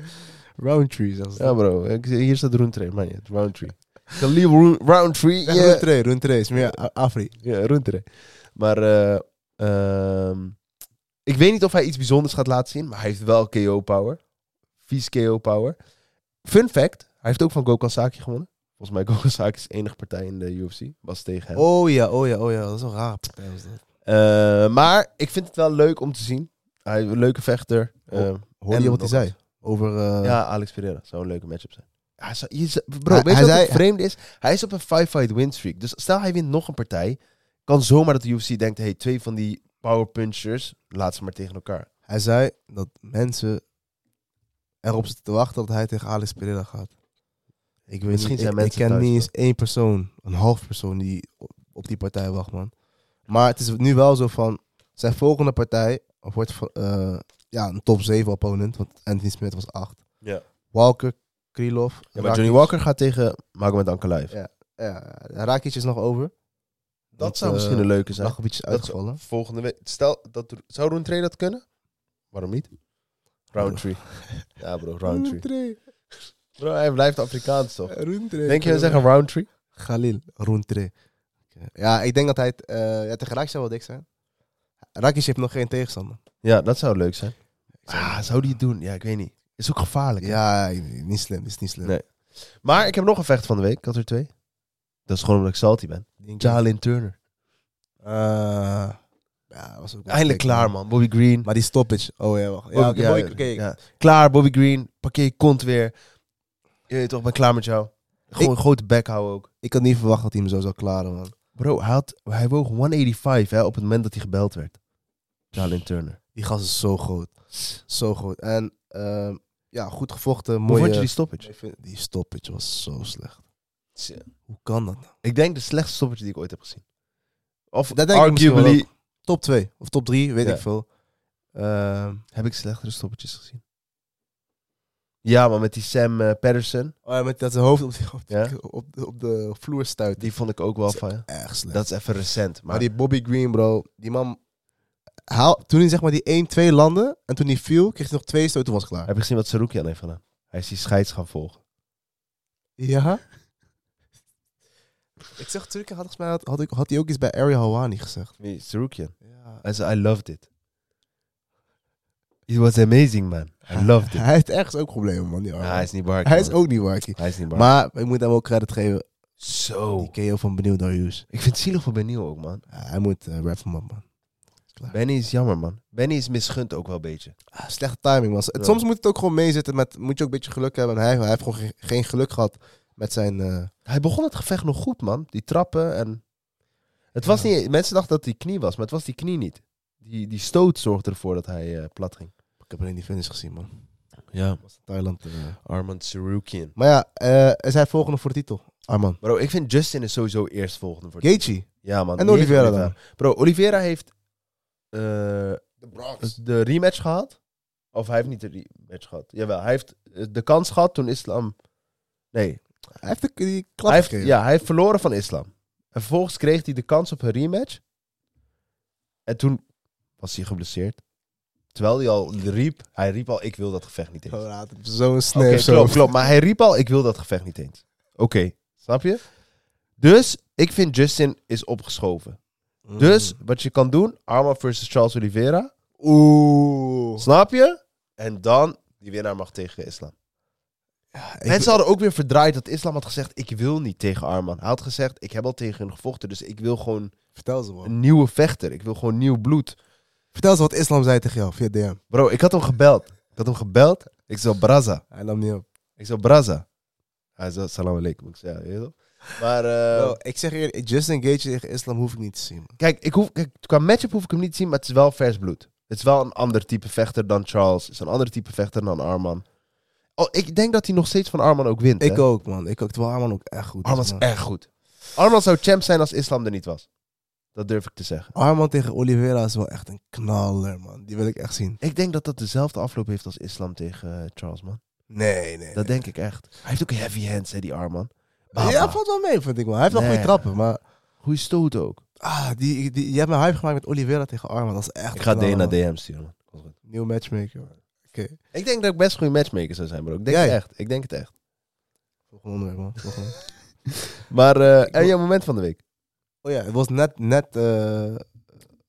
Roundtree, zelfs.
Ja, bro. ik- hier staat Rountree. Maar niet, Rountree. Galil Roun- Rountree.
Ja,
yeah.
Rountree, Rountree is meer A- Afri.
Ja, Roentere. Maar eh, ehm, ik weet niet of hij iets bijzonders gaat laten zien. Maar hij heeft wel KO-power. Vies KO-power. Fun fact. Hij heeft ook van Gokhan Saki gewonnen. Volgens mij Gokhan Saki is de enige partij in de UFC. Was tegen hem.
Oh ja, oh ja, oh ja. Dat is wel raar. partij was dat.
Eh, maar ik vind het wel leuk om te zien. Hij een leuke vechter.
Oh,
Eh,
Hoorde
En
je wat hij
nog
zei? Over... eh,
ja, Alex Pereira. Zou een leuke matchup zijn. Hij zou- je zou- bro,
Hij-
weet je
hij
wat het
zei-
vreemde is? Hij is op een 5-fight winstreak. Dus stel hij wint nog een partij. Kan zomaar dat de UFC denkt... Hey, twee van die power punchers. Laat ze maar tegen elkaar.
Hij zei dat mensen erop zitten te wachten dat hij tegen Alex Pereira gaat. Ik weet
Misschien
niet,
zijn
ik,
mensen
ik ken
thuis
niet
wel.
eens één persoon, een half persoon die op- op die partij wacht, man. Maar het is nu wel zo van, zijn volgende partij wordt van, eh, ja, een top 7 opponent, want Anthony Smith was 8.
Ja.
Walker, Krylov.
Ja, maar
Rakic.
Johnny Walker gaat tegen Magomed Ankalaev.
Ja, ja, Rakic is nog over.
Dat
Want,
zou
eh,
misschien een leuke zijn.
Lag een beetje
Dat is-
uitgevallen.
Volgende week. Stel, dat, zou Roundtree dat kunnen? Waarom niet? Roundtree. ja bro, Roundtree.
Roundtree.
Bro, hij blijft Afrikaans toch?
Roundtree.
Denk je zeggen Roundtree?
Khalil Roundtree. Oké. Ja, ik denk dat hij het... eh, ja, tegen Rakic zou wel dik zijn. Rakic heeft nog geen tegenstander.
Ja, dat zou leuk zijn.
zou-
Ah, zou die het doen? Ja, ik weet niet. Is ook gevaarlijk. hè?
Ja, niet slim. Is niet slim.
Nee. Maar ik heb nog een vecht van de week. Ik had er twee. Dat is gewoon omdat ik salty ben.
Denk je?
Jalin Turner.
Eh, ja, was ook wel
Eindelijk
dik,
klaar, man. Bobby Green.
Maar die stoppage. Oh ja, wacht. Ja,
Bobby-
oké.
ja,
mooi, oké.
ja. Klaar, Bobby Green. Parkeer je kont weer. Je weet toch, ik ben klaar met jou. Gewoon een grote bek houden ook.
Ik had niet verwacht dat hij hem zo zou klaren, man.
Bro, hij, had, hij woog 185 hè, op het moment dat hij gebeld werd. Jalin Turner.
Die gast is zo groot. Zo groot. En ehm, ja, goed gevochten.
Hoe
Mooie...
vond je die stoppage?
Ik vind- die stoppage was zo slecht. Hoe kan dat nou?
Ik denk de slechtste stoppage die ik ooit heb gezien. Of
Dat denk ik misschien wel
arguably
Top 2 of top 3, weet
Ja.
ik veel. Ehm,
heb ik slechtere stoppetjes gezien. Ja, maar met die Sam eh, Patterson,
oh ja, met dat zijn hoofd op, die- op, die-
Ja?
op, de- op de vloer stuit.
die vond ik ook wel van.
Erg slecht.
Dat Ah. is even recent. Maar,
maar, die Bobby Green, bro. Die man... Haal, toen hij zeg maar die 1-2 landde en toen hij viel, kreeg hij nog twee stoten, was klaar.
heb je gezien wat Sarukian heeft gedaan? Hij is die scheids gaan volgen.
Ja? ik zeg natuurlijk, had, volgens mij had, had, ik, had hij ook iets bij Ariel Hawani gezegd.
Wie? Sarukian.
Ja.
Hij zei, I loved it. It was amazing, man. I loved it.
Hij heeft ergens ook problemen, man. Die
Ja, hij is niet barkie.
Hij is
man.
ook niet wacky.
Hij is niet barkie.
Maar ik moet hem ook credit geven.
Zo.
Die KO van Benieuwd naar Hughes.
Ik vind het zielig voor Benio ook, man.
Ja, hij moet eh rap hem op, man.
Benny is jammer, man. Benny is misgund ook wel een beetje.
Ah, slechte timing, man. Het-
Ja.
Soms moet het ook gewoon meezitten. Met, moet je ook een beetje geluk hebben. En hij, hij heeft gewoon ge- geen geluk gehad met zijn... eh,
Hij begon het gevecht nog goed, man. Die trappen en... Het was
Ja.
niet... Mensen dachten dat die knie was, maar het was die knie niet. Die, die stoot zorgde ervoor dat hij eh, plat ging.
ik heb alleen die finish gezien, man.
Ja.
Thailand. eh.
Armand Sarukian.
Maar ja, eh is hij volgende voor de titel? Arman.
Bro, ik vind Justin is sowieso eerst volgende voor...
Gaethje.
Ja, man.
En
die heeft
Oliveira
Bro, Oliveira heeft... eh, de rematch gehad. Of hij heeft niet de rematch gehad. Jawel, hij heeft eh, de kans gehad toen Islam... Nee,
Hij heeft de, die klap
Hij heeft,
gegeven.
ja, hij heeft verloren van Islam. En vervolgens kreeg hij de kans op een rematch. En toen was hij geblesseerd. Terwijl hij al riep, hij riep al, ik wil dat gevecht niet eens.
Oh,
Oké,
laat hem Zo'n snap. zo.
klopt, klopt. Maar hij riep al, ik wil dat gevecht niet eens. Oké, snap je? Dus, ik vind Justin is opgeschoven.
Mm.
Dus, wat je kan doen, Arma versus Charles Oliveira.
Oeh.
Snap je? En dan, die winnaar mag tegen Islam.
Ik,
Mensen hadden ook weer verdraaid dat Islam had gezegd, ik wil niet tegen Arman. Hij had gezegd, ik heb al tegen hun gevochten, dus ik wil gewoon
vertel ze, man.
een nieuwe vechter. Ik wil gewoon nieuw bloed.
Vertel ze wat islam zei tegen jou via DM.
Bro, ik had hem gebeld. Ik had hem gebeld. Ik zei Braza.
Hij nam niet op.
Ik zei Braza. Hij zei salam alaikum. Ik zei ja, je weet toch? Maar eh,
Bro, ik zeg eerlijk, Justin Gage tegen Islam hoef ik niet te zien. man.
kijk, ik hoef, kijk, qua matchup hoef ik hem niet te zien, maar het is wel vers bloed. Het is wel een ander type vechter dan Charles. Het is een ander type vechter dan Arman. Oh, ik denk dat hij nog steeds van Arman ook wint.
Ik
hè?
ook, man. Ik ook. Terwijl Arman ook echt goed
Arman
is,
is
man.
echt goed. Arman zou champ zijn als Islam er niet was. Dat durf ik te zeggen.
Arman tegen Oliveira is wel echt een knaller, man. Die wil ik echt zien.
Ik denk dat dat dezelfde afloop heeft als Islam tegen eh, Charles, man.
Nee, nee.
Dat denk ik echt. Hij heeft ook heavy hands, hè, die Arman.
nee.
Baba.
Ja, valt wel mee, vind ik, man. Hij heeft wel
Ah, Nee.
goede trappen, maar...
Goeie stoot ook.
Ah, die, die, je hebt me hype gemaakt met Oliveira tegen Arman. Dat is echt
Ik ga
een knaller,
D naar DM
man.
sturen. man. Komt goed.
Nieuw matchmaker, man. Oké.
Ik denk dat ik best een goede matchmaker zou zijn, bro. Ik denk
Ja,
het
ja.
echt. Ik denk het echt.
Volgende onderwerp, man. Volgende.
Maar, eh, en
wil-
jouw moment van de week?
oh ja, het was net, net eh,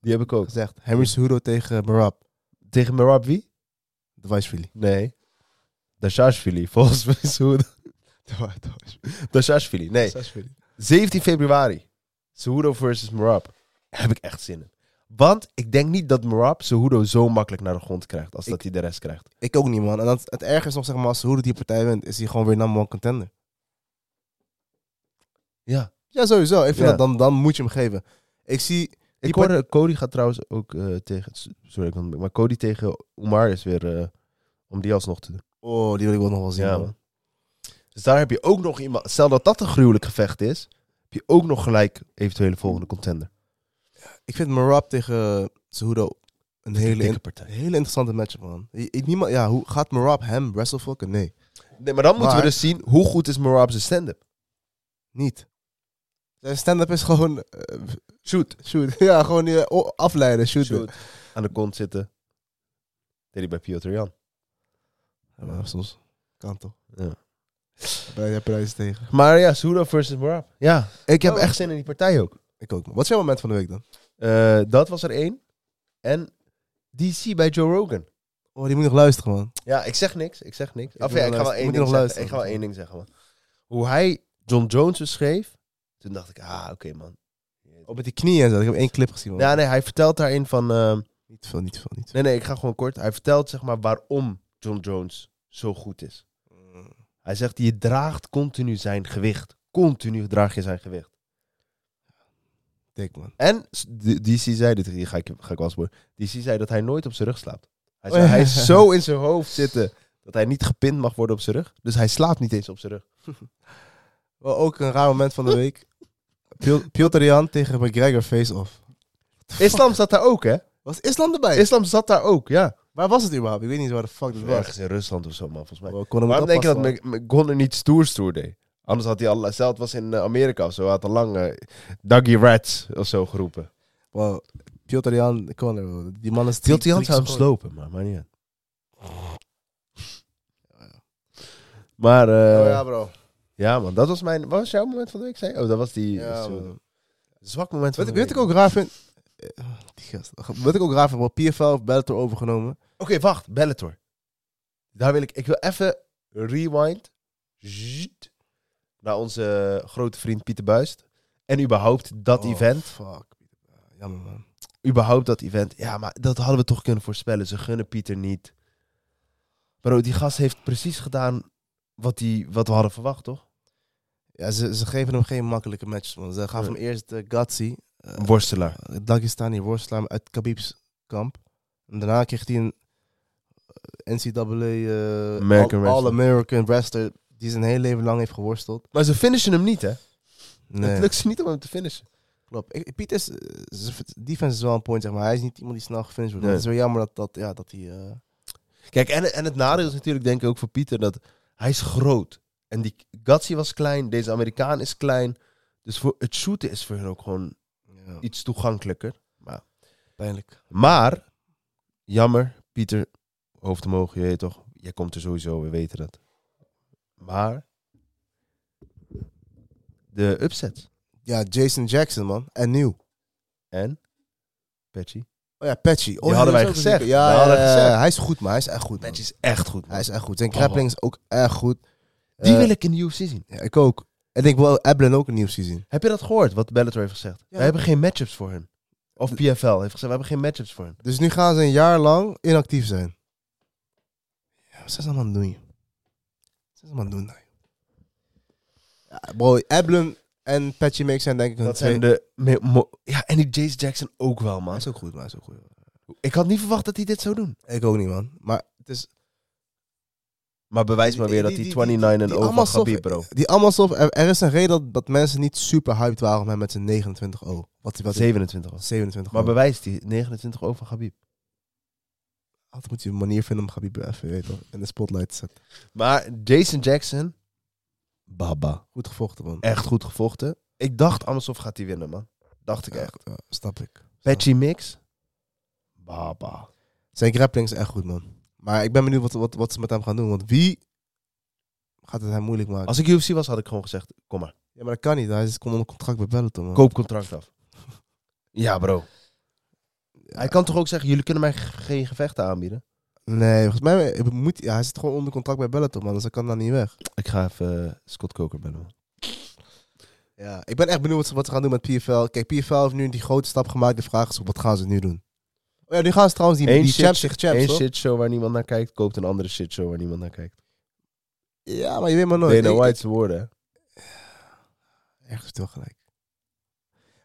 Die heb ik ook.
gezegd. Henry Cejudo tegen Marab.
Tegen Merab wie?
De Vice
Nee. Dashashvili, volgens mij is hoe... Dashashvili, nee. 17 februari. Cejudo versus Merab. Daar heb ik echt zin in. Want ik denk niet dat Merab Cejudo zo makkelijk naar de grond krijgt als
Ik-
dat hij de rest krijgt.
Ik ook niet, man. En dat, het ergste is nog, zeg maar, als Cejudo die partij wint, is hij gewoon weer number one contender.
Ja.
Ja, sowieso. Ik vind
Ja.
dat dan, dan moet je hem geven. Ik zie...
Ik
part-
hoorde, Cody gaat trouwens ook eh, tegen... Sorry, ik ontbreek, maar Cody tegen Omar is weer... eh, om die alsnog te doen.
Oh, die wil ik wel nog wel zien,
Ja,
man.
man. Dus daar heb je ook nog iemand. Stel dat dat een gruwelijk gevecht is, heb je ook nog gelijk eventuele volgende contender.
Ik vind Marab tegen Cejudo een hele,
dikke
in-
partij.
hele interessante matchup, man. I- ik- niemand, ja, hoe, gaat Marab hem wrestlefucken? Nee,
Nee, maar dan moeten
Maar-
we dus zien hoe goed is Merab zijn stand-up.
niet. Zijn stand-up is gewoon eh,
Shoot.
shoot. Ja, gewoon je o- afleiden, shooten.
Shoot. Aan de kont zitten. deed hij bij Piotr Jan.
Ja, maar soms kan toch.
Ja.
Daar heb je daar iets tegen.
Maar ja, Sudo versus Barab. Ja, ik heb
Oh.
echt zin in die partij ook.
Ik ook, man. Wat is jouw moment van de week dan?
Eh, dat was er één. En DC bij Joe Rogan.
Oh, die moet nog luisteren, man.
Ja, ik zeg niks. Ik zeg niks.
Ik
Of
moet
ja,
nog
ik ga wel
luisteren,
één
moet
ding
nog
zeggen.
luisteren.
Ik ga wel één ding zeggen, man. Hoe hij John Jones beschreef, toen dacht ik, ah, oké, man.
Op Oh, met die knieën en zo. Ik heb één clip gezien, man.
Ja, nee, hij vertelt daarin van... ehm,
Niet veel, niet veel, niet
nee,
veel.
nee, ik ga gewoon kort. Hij vertelt, zeg maar, waarom John Jones zo goed is. Hij zegt, je draagt continu zijn gewicht. Continu draag je zijn gewicht.
Dik, man.
En s- D- DC zei, dit hier ga ik, ga ik wel eens boor- DC zei dat hij nooit op zijn rug slaapt. Hij,
Oh
zei,
ja.
hij is zo in zijn hoofd zitten dat hij niet gepind mag worden op zijn rug. Dus hij slaapt niet eens op zijn rug.
Wel, ook een raar moment van de week. Pio- Piotr Jan tegen McGregor face-off.
Islam zat daar ook, hè?
Was Islam erbij?
Islam zat daar ook, ja.
Waar was het überhaupt? Ik weet niet waar de fuck dat was.
Ergens in Rusland of zo, man, volgens mij.
We konden
Waarom
het
denk je dat
oppassen,
Mc- McGonagall niet stoer stoer deed? Anders had hij al... Zelf was in eh, Amerika of zo, hij had al lang eh, Dougie Rats of zo geroepen.
man. Wow. Piotr Jan, Conor, bro. die man is...
Tilt hij
drie-
hand zou hem
drie-
slopen, maar, maar niet uit. Maar... eh,
Oh ja, bro.
Ja, man, dat was mijn. Wat was jouw moment van de week? Zei? je? Oh, dat was die.
Ja,
zo-
man.
zwak moment van
Wat,
de week.
wat ik ook raar vind... Eh, Die gast. Wat ik ook raar vind, bro. PFL heeft Bellator overgenomen.
Oké, wacht, Bellator. Daar wil ik. Ik wil even rewind. Zzt. naar onze eh, grote vriend Pieter Buist. En überhaupt dat
Oh,
event.
Fuck. Jammer, man.
Überhaupt dat event. Ja, maar dat hadden we toch kunnen voorspellen. Ze gunnen Pieter niet. Bro, die gast heeft precies gedaan wat, die, wat we hadden verwacht, toch?
Ja, ze, ze geven hem geen makkelijke matches, man. Ze gaven hem eerst de Gatsi.
Een worstelaar.
Een Dagestani worstelaar uit Khabib's kamp. En daarna kreeg hij een eh, NCAA eh,
American
All-
wrestler.
All-American wrestler die zijn hele leven lang heeft geworsteld.
Maar ze finishen hem niet, hè?
Nee,
Het lukt ze niet om hem te finishen.
klopt. Ik, Piet is, eh, zijn v- defense is wel een point, zeg maar. Hij is niet iemand die snel gefinished wordt.
Nee.
Het is wel jammer dat, dat, ja, dat hij... eh,
Kijk, en, en het nadeel is natuurlijk denk ik ook voor Pieter dat hij is groot. En die Gatsi was klein, deze Amerikaan is klein. Dus voor het shooten is voor hen ook gewoon
ja,
iets toegankelijker.
pijnlijk.
Maar, jammer, Pieter, hoofd omhoog, je weet toch. Jij komt er sowieso, we weten dat. Maar, de upset.
Ja, Jason Jackson, man. En nieuw.
En, Patchy.
Oh ja, Patchy. Oh,
Die hadden wij
dat is ook een
gezegd.
nieuwe.
Die
Ja, ja,
hadden
ja,
we gezegd.
ja. hij is goed, maar hij is echt goed. man.
Patchy is echt goed, man.
Hij is echt goed. Zijn
Oh.
grappling is ook echt goed.
Die
Eh,
wil ik in de UFC zien.
ja, ik ook. En ik wil Eblen ook een nieuw zien.
Heb je dat gehoord, wat Bellator heeft gezegd? We hebben geen matchups voor hem. Of PFL heeft gezegd, we hebben geen matchups voor hem.
Dus nu gaan ze een jaar lang inactief zijn. Ja, wat zijn ze allemaal aan het doen? joh? Wat zijn ze allemaal aan het doen? nou, joh? Ja, bro, Eblen en Patchy Mix zijn denk ik hun
Dat
twee-
zijn de. me- mo- Ja, en die Jace Jackson ook wel,
Hij
man.
is ook goed, maar hij is ook goed.
Ik had niet verwacht dat hij dit zou doen.
Ik ook niet, man. Maar het is...
Maar bewijs maar weer dat hij 29 en
die
over
allemaal
gaat
soft-
bro.
Die allemaal soft- Er, er is een reden dat, dat mensen niet super hyped waren om hem met zijn 29 0 Wat, wat
27 was.
27
Maar
Maar
bewijst die 29 over Gabib.
altijd moet je een manier vinden om Gabib even weet je wel, in de spotlight te zetten.
Maar Jason Jackson. Baba.
Goed gevochten, man.
Echt goed gevochten. Ik dacht, Amazon gaat hij winnen, man. Dacht ik echt.
Echt, ja, snap ik.
Patchy Mix. Baba.
Zijn grappling is echt goed, man. Maar ik ben benieuwd wat, wat, wat ze met hem gaan doen. Want wie gaat het hem moeilijk maken?
Als ik UFC was, had ik gewoon gezegd: kom maar,
Ja, maar dat kan niet. Hij is komt onder contract bij Bellator, man.
koop contract af. Ja, bro.
Ja.
Hij kan toch ook zeggen: jullie kunnen mij ge- geen gevechten aanbieden?
Nee, volgens mij eh, moet ja, hij zit gewoon onder contract bij Bellator, man. Dus hij kan daar niet weg.
Ik ga even eh, Scott Coker bellen, man.
Ja, ik ben echt benieuwd wat ze, wat ze gaan doen met PFL. Kijk, PFL heeft nu die grote stap gemaakt. De vraag is, wat gaan ze nu doen? Oh ja, nu gaan ze trouwens die,
Eén
die
shit-
champs zich champs,
Eén
toch?
shitshow waar niemand naar kijkt, koopt een andere shitshow waar niemand naar kijkt.
Ja, maar je weet maar nooit.
Dana
Ik-
White's woorden, hè?
Echt stil gelijk.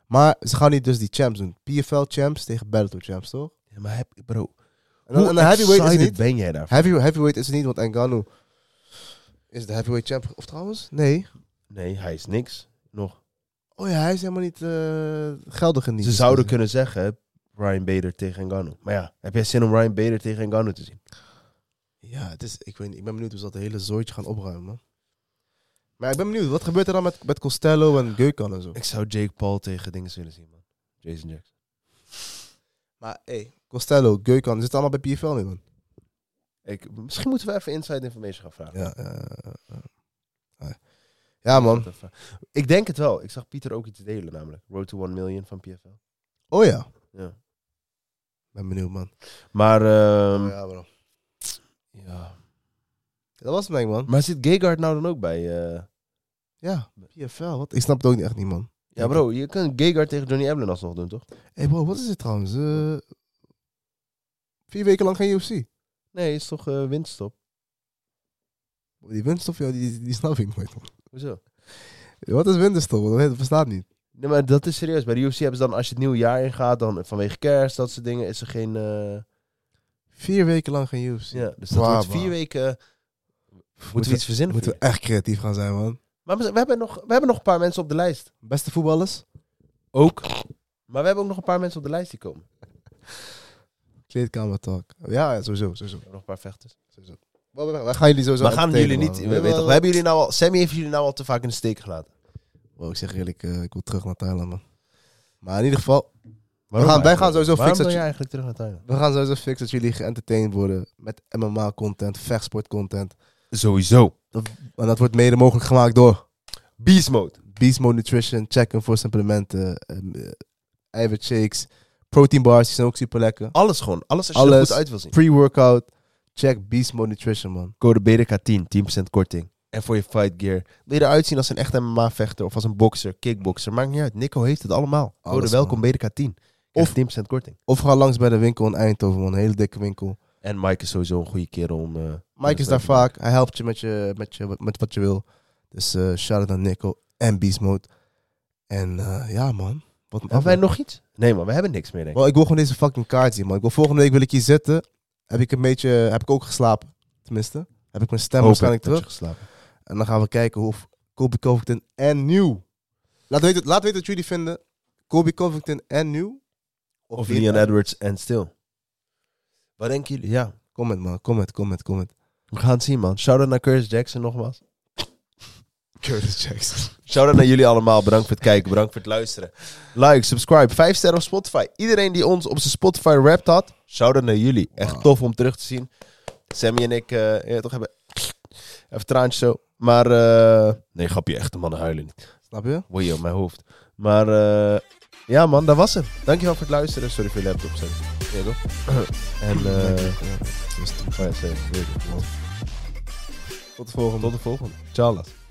Maar ze gaan niet dus die champs doen. PFL champs tegen Bellator champs, toch?
Ja, maar heb, bro,
En dan, en de heavyweight is het niet.
ben jij daarvoor?
Heavy, heavyweight is het niet, want Engano is de heavyweight champ. Of trouwens? Nee.
Nee, hij is niks. Nog.
Oh ja, hij is helemaal niet eh, geldig in die.
Ze zouden kunnen zeggen, Ryan Bader tegen Ngannou. Maar ja, heb jij zin om Ryan Bader tegen Ngannou te zien?
Ja, het is, ik, weet, niet, ik ben benieuwd hoe ze dat hele zooitje gaan opruimen. man. Maar ik ben benieuwd, wat gebeurt er dan met, met Costello en Geukan en zo?
Ik zou Jake Paul tegen dingen willen zien, man. Jason Jackson.
Maar hey, Costello, Geukan, zit allemaal bij PFL nu, man.
Ik, misschien moeten we even inside information gaan vragen.
Ja, eh, eh, eh. ja man.
Even- Ik denk het wel. Ik zag Pieter ook iets delen namelijk. Road to 1 million van PFL.
Oh ja.
Ja.
Ben benieuwd, man.
Maar, ehm, ja.
ja, bro. Dat was het, denk ik, man.
maar zit Gegard nou dan ook bij? eh?
Ja, PFL, wat? Ik snap het ook niet echt niet, man.
Ja bro, je kan Gegard tegen Johnny Evelyn alsnog doen, toch?
hey, bro, wat is dit trouwens? Eh, vier weken lang geen UFC.
Nee, is toch eh winststop?
Die winterstop, joh, die, die snap ik nooit, man.
Hoezo?
Wat is winterstop? man? Dat bestaat niet.
Nee, maar dat is serieus. Bij de UFC hebben ze dan, als je het nieuwe jaar ingaat, dan vanwege kerst, dat soort dingen, is er geen... eh,
Vier weken lang geen UFC.
ja, dus dat
Waar,
wordt vier
waar.
weken... Moeten
Moeten
we iets verzinnen?
Moeten
voor
we echt creatief gaan zijn, man.
je? Maar we, we hebben nog, we hebben nog een paar mensen op de lijst.
Beste voetballers,
Ook. Maar we hebben ook nog een paar mensen op de lijst die komen. We
kleedkamer talk. Ja, sowieso, sowieso.
hebben nog een paar vechters.
sowieso. Wel, We we gaan jullie sowieso
We gaan jullie
entertainen,
niet...
man.
We, weten toch, we hebben jullie nou al, Sammy heeft jullie nou al te vaak in de steek gelaten.
Wow, ik zeg eerlijk, eh, ik wil terug naar Thailand, man. Maar in ieder geval, Waarom gaan- wij gaan sowieso
Waarom
fixen
wil
dat
je
je-
eigenlijk terug naar Thailand?
we gaan sowieso fixen dat jullie geëntertained worden met MMA-content, vechtsport-content.
Sowieso.
En dat wordt mede mogelijk gemaakt door
Beast mode.
Beast Mode Nutrition, checken voor supplementen, ehm, eh, eiwitshakes, protein bars, die zijn ook super lekker.
Alles gewoon. Alles als je er
Alles.
goed uit wil zien.
Pre-workout, check Beast Mode Nutrition, man.
Code BDK10, 10% korting. En voor je fight gear. Wil je eruit zien als een echte MMA-vechter of als een bokser, kickbokser? Maakt niet uit. Nico heeft het allemaal. Code
Alles,
welkom BDK10. Of
Of-
10% korting.
Of ga langs bij de winkel in Eindhoven, man. Een hele dikke winkel.
En Mike is sowieso een goede kerel om... eh,
Mike
dat
is daar
te doen.
vaak. Hij helpt je met, je, met, je, met wat je wil. Dus eh shout-out aan Nico en Beast Mode. En eh, ja, man. Wat een
Hebben wij
aflevering.
nog iets? Nee man, we hebben niks meer denk ik.
Wel, ik wil gewoon deze fucking kaart zien, man. Ik wil volgende week wil ik hier zitten. Heb ik een beetje... Heb ik ook geslapen, tenminste. Heb ik mijn stem
Hoop ik
waarschijnlijk
dat je
terug.
geslapen.
En dan gaan we kijken hoe Kobe Covington en nieuw. Laat weten, laat weten wat jullie vinden. Kobe Covington en nieuw.
Of Leon Edwards en stil. Wat denken jullie? Ja,
Comment, man. Comment, comment, comment.
we gaan het zien man. Shout-out naar Curtis Jackson nogmaals.
Curtis Jackson.
Shout-out naar jullie allemaal. Bedankt voor het kijken. Bedankt voor het luisteren. Like, subscribe, 5 sterren op Spotify. Iedereen die ons op zijn Spotify rapt had, shout-out naar jullie.
Ah.
Echt tof om terug te zien. Sammy en ik eh, ja, toch hebben... Even traantjes zo. Maar... eh, nee, grapje. Echte mannen huilen niet.
Snap je?
Wee op mijn hoofd. Maar... eh, ja man, dat was hem. Dankjewel voor het luisteren. Sorry voor je laptop, Sammy. Ja, toch? En... eh,
Ja, dat is het.
oh ja, sorry. Weet ik.
Tot de volgende.
Tot de volgende. Ciao. laat.